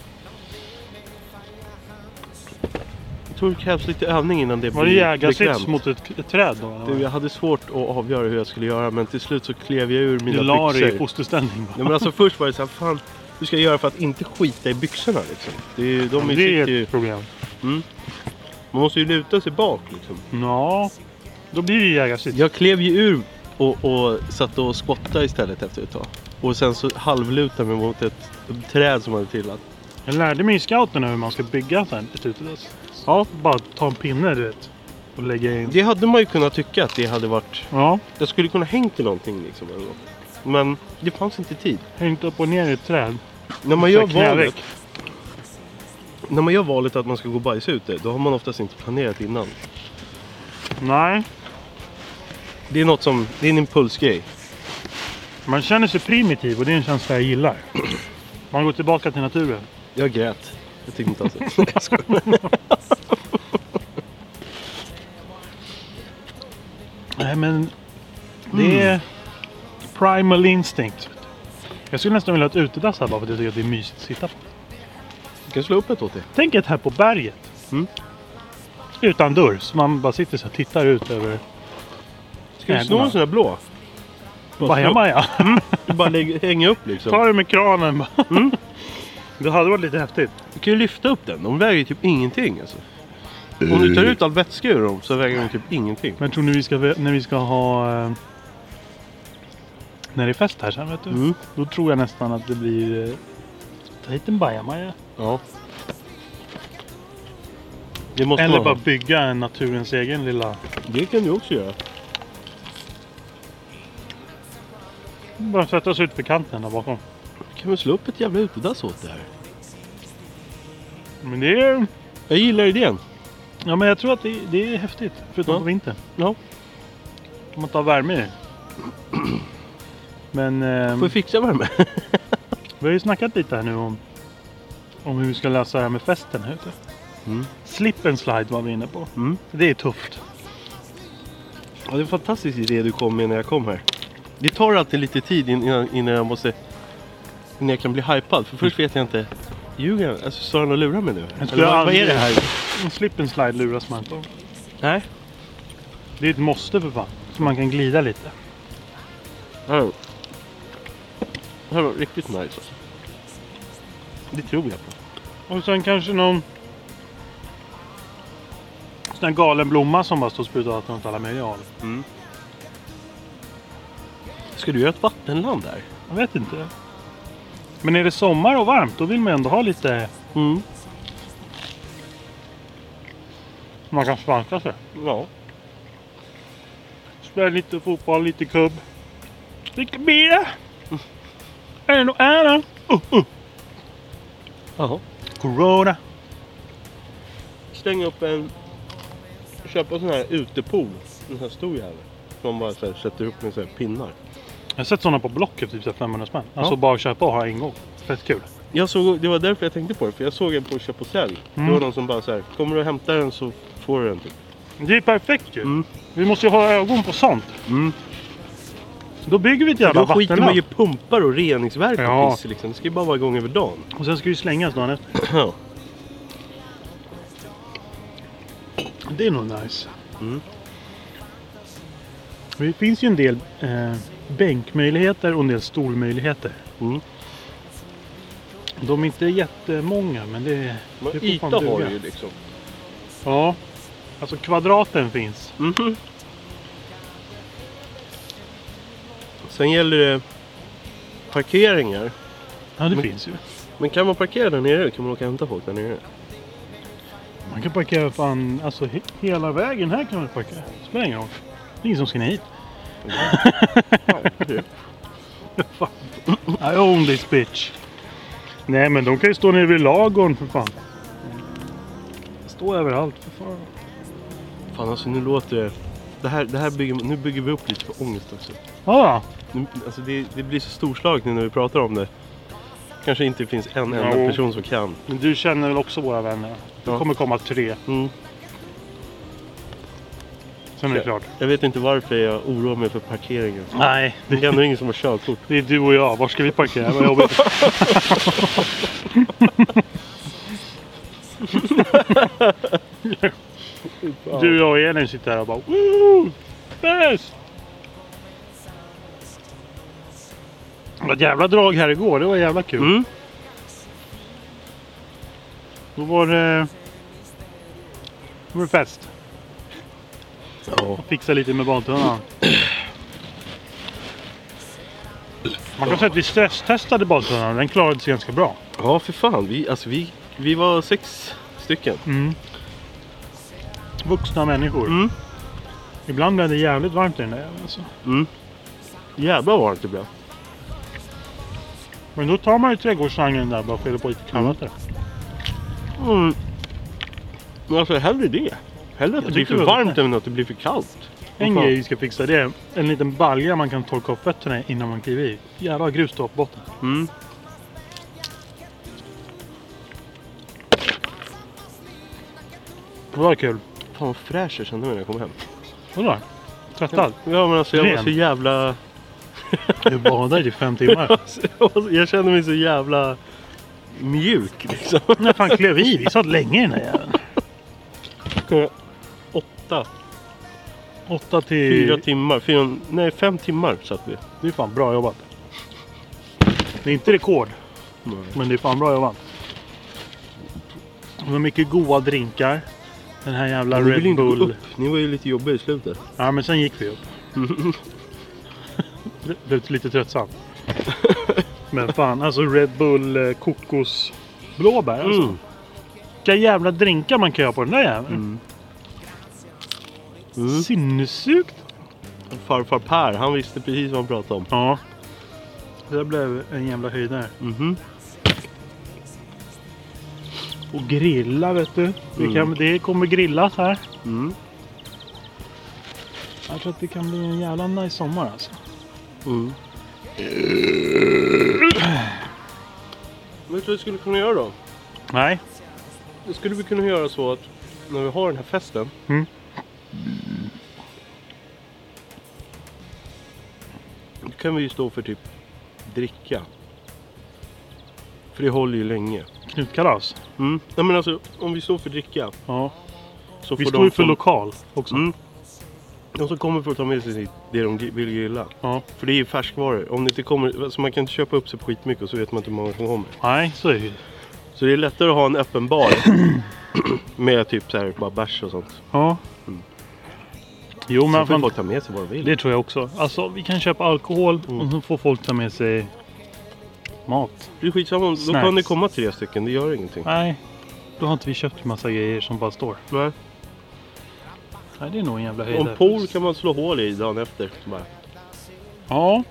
A: Jag tror det krävs lite övning innan det
B: Var det
A: blir
B: jägarsits
A: bekvämt.
B: mot ett, ett träd då? eller vad?
A: Du, jag hade svårt att avgöra hur jag skulle göra men till slut så klev jag ur mina
B: du la dig i
A: byxor.
B: fosterställning va?
A: Nej, men alltså först var det så här, fan hur ska jag göra för att inte skita i byxorna liksom? Det är, ju- de är
B: det
A: sitter
B: är
A: ju,
B: ett problem.
A: man måste ju luta sig bak liksom.
B: Ja. Då blir det jägarsits.
A: Jag klev ju ur och, och satt och skottade istället efter ett tag. Och sen så halvlutar mig mot ett träd som hade trillat.
B: Jag lärde mig i scouterna hur man ska bygga ett här utedass. Ja. Bara ta en pinne du vet. Och lägga in.
A: Det hade man ju kunnat tycka att det hade varit.
B: Ja,
A: Jag skulle kunna hängt i någonting liksom. Eller något. Men det fanns inte tid.
B: hängt upp och ner i ett träd.
A: När man,
B: Så
A: gör
B: knäveck.
A: valet, när man gör valet att man ska gå och bajsa ute, då har man oftast inte planerat innan.
B: Nej,
A: Det är något som, det är en impulsgrej.
B: man känner sig primitiv och det är en känsla jag gillar. Man går tillbaka till naturen.
A: Jag grät. Jag tyckte inte alls det. Nej, jag skojar.
B: Nej men det är primal instinct. Jag skulle nästan vilja ha ett utedass här bara för att jag tycker att det är mysigt att sitta på.
A: Du kan slå upp ett åt dig.
B: Tänk ett här på berget.
A: Mm.
B: Utan dörr, så man bara sitter så här och tittar ut över
A: Ska du
B: Nej,
A: sno
B: god
A: en sån här blå? slå upp.
B: Bajamaja.
A: Du bara lägger, hänga upp
B: Ta
A: liksom.
B: det med kranen bara. Det hade varit lite häftigt.
A: Du kan ju lyfta upp den. De väger ju typ ingenting alltså. Om du tar ut all vätska ur dem så väger de typ ingenting.
B: Men tror ni vi ska, när vi ska ha... eh, När det är fest här sen vet du.
A: Mm.
B: Då tror jag nästan att det blir... eh, Ta hit en bajamaja.
A: Ja. Det måste
B: Eller
A: man
B: bara
A: ha.
B: bygga en naturens egen lilla...
A: Det kan du också göra.
B: Bara sätta oss ut för kanten där bakom.
A: Du kan väl slå upp ett jävla utedass åt det här.
B: Men det är...
A: Jag gillar idén.
B: Ja men jag tror att det, det är häftigt. Förutom
A: Ja.
B: på vintern.
A: Ja.
B: Om man tar värme i det. Men ehm,
A: Får vi fixa värme?
B: vi har ju snackat lite här nu om, om hur vi ska lösa det här med festen här ute.
A: Mm.
B: Slip and slide var vi inne på.
A: Mm.
B: Det är tufft.
A: Ja, det är en fantastisk idé du kom med när jag kom här. Det tar alltid lite tid innan, innan jag måste... Innan jag kan bli hypad. För först vet jag inte... Ljuger han? Alltså, står han och lurar mig nu?
B: Jag
A: Eller
B: skulle
A: vad, vad är
B: aldrig-
A: det här?
B: En slip and slide luras man inte av.
A: Nej.
B: Det är ett måste för fan. Så man kan glida lite.
A: Ja. Det här var riktigt nice alltså. Det tror jag på.
B: Och sen kanske någon sån här galen blomma som bara står och sprutar vatten åt alla möjliga håll.
A: Ska du göra ett vattenland här?
B: Jag vet inte. Men är det sommar och varmt då vill man ändå ha lite...
A: Mm.
B: Man kan svanka sig.
A: Ja.
B: Spela lite fotboll, lite kubb. Dricka bira.
A: Mm.
B: Är det nog ära? Uh, uh.
A: Jaha.
B: Corona.
A: Stänga upp en... Köpa en sån här utepool. En sån här stor jävel. Som man bara så här, sätter upp med så här pinnar.
B: Jag har sett sådana på Blocket, typ så här 500 spänn. Alltså bara att köpa och ha ingång. Fett kul.
A: Jag såg, det var därför jag tänkte på det, för jag såg en på köp och sälj.
B: Mm.
A: Det var någon som bara så här, kommer du och hämtar den så får du den typ.
B: Det är perfekt ju.
A: Mm.
B: Vi måste ju ha ögon på sånt.
A: Mm.
B: Då bygger vi ett jävla
A: Då skiter man ju i
B: vattenland.
A: pumpar och reningsverk och
B: Ja.
A: piss liksom. Det ska ju bara vara igång över dagen.
B: Och sen ska det ju slängas dagen efter.
A: Ja.
B: Det är nog nice.
A: Mm.
B: Det finns ju en del eh, bänkmöjligheter och en del stolmöjligheter.
A: Mm.
B: De är inte jättemånga men det, det
A: Men
B: får
A: yta
B: fan
A: har
B: duga.
A: du ju liksom.
B: Ja. Alltså kvadraten finns.
A: Mhm. Sen gäller det parkeringar.
B: Ja det
A: Men-
B: finns ju.
A: Men kan man parkera där nere? Kan man åka och hämta folk där nere?
B: Man kan parkera fan, alltså he- hela vägen här kan man parkera. Spelar ingen roll. Det är ingen som ska ner hit.
A: Ja, det är
B: I own this bitch. Nej men de kan ju stå nere vid lagården för fan. Stå överallt för fan.
A: det. Fan alltså nu låter det... Det här, det här bygger, nu bygger vi upp lite för ångest också.
B: Ja,
A: Nu- Alltså det, det blir så storslaget nu när vi pratar om det. Kanske inte finns en
B: Ja.
A: enda person som kan.
B: men du känner väl också våra vänner? Det
A: Ja.
B: kommer komma tre.
A: Mm.
B: Sen är det klart.
A: Jag vet inte varför jag oroar mig för parkeringen.
B: Nej,
A: Det är ändå ingen som har körkort.
B: det är du och jag. Var ska vi parkera? Vad jobbigt. Du, jag och Elin sitter här och bara Woo! Bäst! Det var ett jävla drag här igår. Det var jävla kul.
A: Mm.
B: Då var det... Då var det fest.
A: Ja.
B: Fixa lite med badtunnan. Man kan säga att vi stresstestade badtunnan. Den klarade sig ganska bra.
A: Ja, för fan. Vi, alltså, vi, vi var sex stycken.
B: Mm. Vuxna människor.
A: Mm.
B: Ibland blev det jävligt varmt i den där jäveln alltså.
A: Jävlar vad varmt det blev.
B: Men då tar man ju trädgårdsslangen där och bara fyller på lite kallvatten.
A: Mm. Men alltså hellre det. Hellre att det blir
B: tyckte
A: för
B: det var
A: varmt än att det blir för kallt. Vad
B: En
A: fan?
B: grej vi ska fixa det är en liten balja man kan torka upp fötterna i innan man kliver i. Jävlar vad grus det var på botten.
A: Mm.
B: Det var kul.
A: Fan vad fräsch jag kände mig när jag kom hem.
B: Vadå? Tvättad?
A: Ja men alltså jag var
B: Ren.
A: så jävla...
B: Du badade i typ fem timmar.
A: Jag var så- jag kände mig så jävla mjuk liksom.
B: När fan klev vi i? Vi satt länge i den där jäveln.
A: Åtta,
B: Åtta
A: fyra
B: till...
A: timmar, fyra, nej fem timmar satt vi.
B: Det är fan bra jobbat. Det är inte rekord, men det är fan bra jobbat. Det var mycket goda drinkar. Den här jävla
A: Ni ville
B: Red
A: inte gå
B: Bull.
A: upp, ni var ju lite jobbiga i slutet.
B: Ja, men sen gick vi upp. Det blev lite tröttsamt. Men fan, alltså Red Bull eh, kokos blåbär alltså.
A: Mm.
B: Vilka jävla drinkar man kan göra på den där jäveln.
A: Mm.
B: Sinnessjukt!
A: Alltså, Farfar Per, han visste precis vad han pratade om.
B: Ja. Det där blev en jävla höjdare.
A: Mhm.
B: Och grilla vet du. Vi kan, det kommer grillas här.
A: Mm.
B: Jag tror att det kan bli en jävla nice sommar alltså.
A: Mm. Vet du vad vi skulle kunna göra då?
B: Nej.
A: Då skulle vi kunna göra så att när vi har den här festen.
B: Mm.
A: Då kan vi ju stå för typ dricka. För det håller ju länge.
B: Knutkalas.
A: Mm. Nej men alltså om vi står för dricka.
B: Ja.
A: Så
B: Vi
A: får
B: står ju
A: de
B: för
A: som,
B: lokal också.
A: Mm. De som kommer får ta med sig sitt- det de gri- vill grilla.
B: Ja.
A: För det är ju färskvaror. Om det inte kommer, alltså man kan inte köpa upp sig på skitmycket och så vet man inte hur många som kommer.
B: Nej, så är det ju.
A: Så det är lättare att ha en öppen bar. med typ så här bara bärs och sånt.
B: Ja. Mm. Jo men
A: Sen får
B: fan,
A: folk ta med sig vad de vill.
B: det tror jag också. Alltså vi kan köpa alkohol och så får folk ta med sig mat.
A: Det är skitsamma, om- då
B: Snacks.
A: kan det komma tre stycken, det gör ingenting.
B: Nej, då har inte vi köpt massa grejer som bara står.
A: Nej.
B: Nej, det är nog en jävla höjdare.
A: Om pool kan man slå hål i dagen efter. Bara.
B: Ja.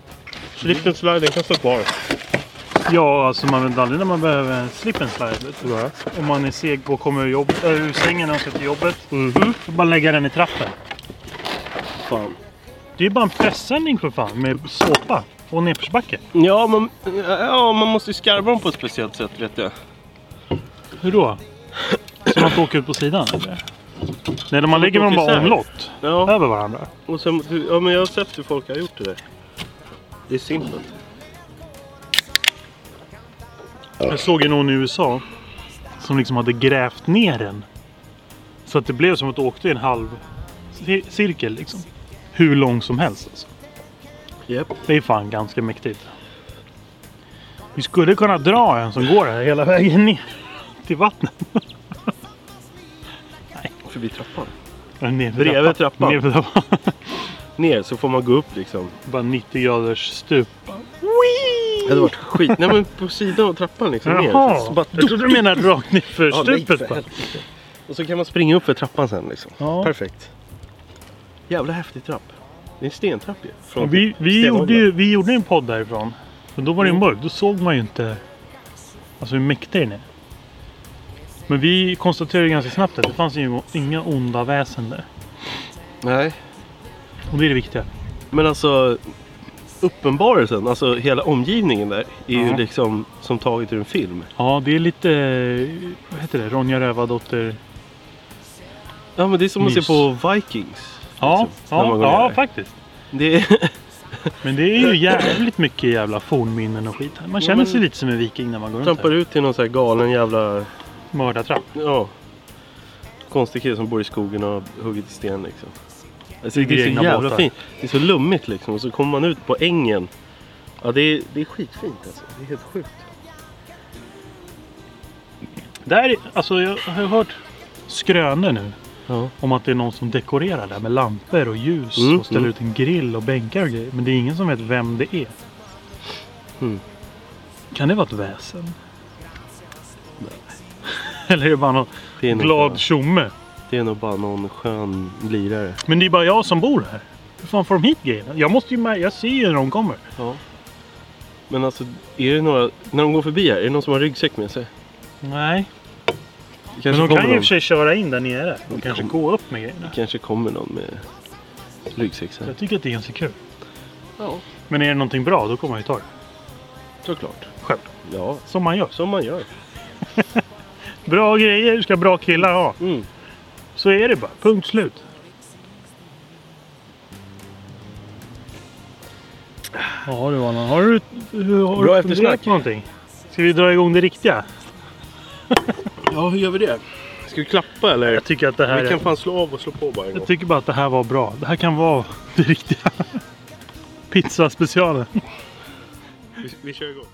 A: Slip and slide, den kan stå kvar.
B: Ja, alltså man vet aldrig när man behöver en slip and slide. vet du.
A: Nej.
B: Om man är seg på att komma ur, jobb, äh, ur sängen när man ska till jobbet.
A: Mhm.
B: Då bara lägga den i trappen.
A: Fan.
B: Det är bara en pressändning för fan med såpa och nedförsbacke.
A: Ja, man, ja, man måste ju skarva dem på ett speciellt sätt vet jag.
B: Hur då? Som att åka ut på sidan eller? Nej, när man lägger dem bara omlott
A: Ja,
B: över varandra.
A: och sen, ja men jag har sett hur folk har gjort det där. Det är simpelt.
B: Jag såg ju någon i USA som liksom hade grävt ner den. Så att det blev som att du åkte i en halv cir- cirkel liksom. Hur lång som helst alltså.
A: Japp.
B: Det är fan ganska mäktigt. Vi skulle kunna dra en som går här hela vägen ner till vattnet.
A: Förbi trappan.
B: Ja, Ner för
A: Bredvid trappan.
B: Ner för trappan.
A: Ner så får man gå upp liksom.
B: Bara 90 graders stup.
A: Det hade varit skit. Nej men på sidan av trappan liksom. Ner. Så
B: Jaha!
A: bara-
B: Jag trodde du menade rakt ner för
A: Ja, nej, för
B: stupet. bara.
A: helvete. Och så kan man springa upp för trappan sen liksom.
B: Ja.
A: Perfekt. Jävla häftig trapp. Det är en stentrapp ju.
B: Ja,
A: Från
B: vi, Mm. vi,
A: stenåldern.
B: gjorde ju, vi gjorde ju en podd därifrån. Men då var det ju mörkt. Då såg man ju inte alltså hur mäktig den är. Men vi konstaterade ju ganska snabbt att det fanns ju inga onda väsen där.
A: Nej.
B: Och det är det viktiga.
A: Men alltså uppenbarelsen, alltså hela omgivningen där är ju
B: Ja.
A: liksom som taget ur en film.
B: Ja, det är lite... eh, Vad heter det? Ronja Rövardotter...
A: Ja men det är som att
B: Mys.
A: se på Vikings.
B: Ja,
A: när man
B: ja,
A: går
B: ja
A: ner.
B: faktiskt.
A: Det är,
B: Men det är ju jävligt mycket jävla fornminnen och skit. här. Man känner
A: men-
B: sig lite som en viking när man går runt
A: trampar
B: här.
A: ut till någon så här galen jävla,
B: Mördartrapp.
A: ja. Konstig kille som bor i skogen och har huggit i sten liksom. Alltså,
B: Bygger
A: det är så
B: egna
A: jävla
B: båtar.
A: fint. Det är så lummigt liksom. Och så kommer man ut på ängen. Ja det är, det är skitfint alltså. Det är helt sjukt.
B: Där, är- alltså jag har ju hört skrönor nu.
A: Ja.
B: Om att det är någon som dekorerar där med lampor och ljus
A: Mm,
B: och ställer
A: mm.
B: ut en grill och bänkar och grejer. Men det är ingen som vet vem det är.
A: Mm.
B: Kan det vara ett väsen? Eller är det bara någon
A: Det är, nog bara,
B: glad tjomme?
A: det är nog bara någon skön lirare.
B: Men det är bara jag som bor här. Hur fan får de hit grejerna? Jag, måste ju, mär- jag ser ju när de kommer.
A: Ja. Men alltså, är det några, när de går förbi här, är det någon som har ryggsäck med sig?
B: Nej.
A: Det
B: Men
A: Kanske
B: de kan
A: kommer
B: ju i och
A: någon,
B: för sig köra in där nere och kanske
A: kan-
B: gå upp med grejerna.
A: kanske kommer någon med ryggsäck så här.
B: Jag tycker att det är ganska kul.
A: Ja,
B: Men är det någonting bra då kommer man ju ta det.
A: såklart.
B: Själv.
A: Ja,
B: Som man gör.
A: som man gör.
B: Bra grejer ska bra killar ha.
A: Mm.
B: Så är det bara. Punkt slut. Ja du Anna, har du, hur- har
A: Bra
B: du
A: eftersnack.
B: funderat på någonting? Ska vi dra igång det riktiga?
A: Ja, hur gör vi det? Ska vi klappa eller?
B: Jag tycker att det här
A: Vi
B: är...
A: kan fan slå av och slå på bara en gång.
B: Jag tycker bara att det här var bra. Det här kan vara det riktiga. Pizzaspecialen.
A: Vi, vi kör igång.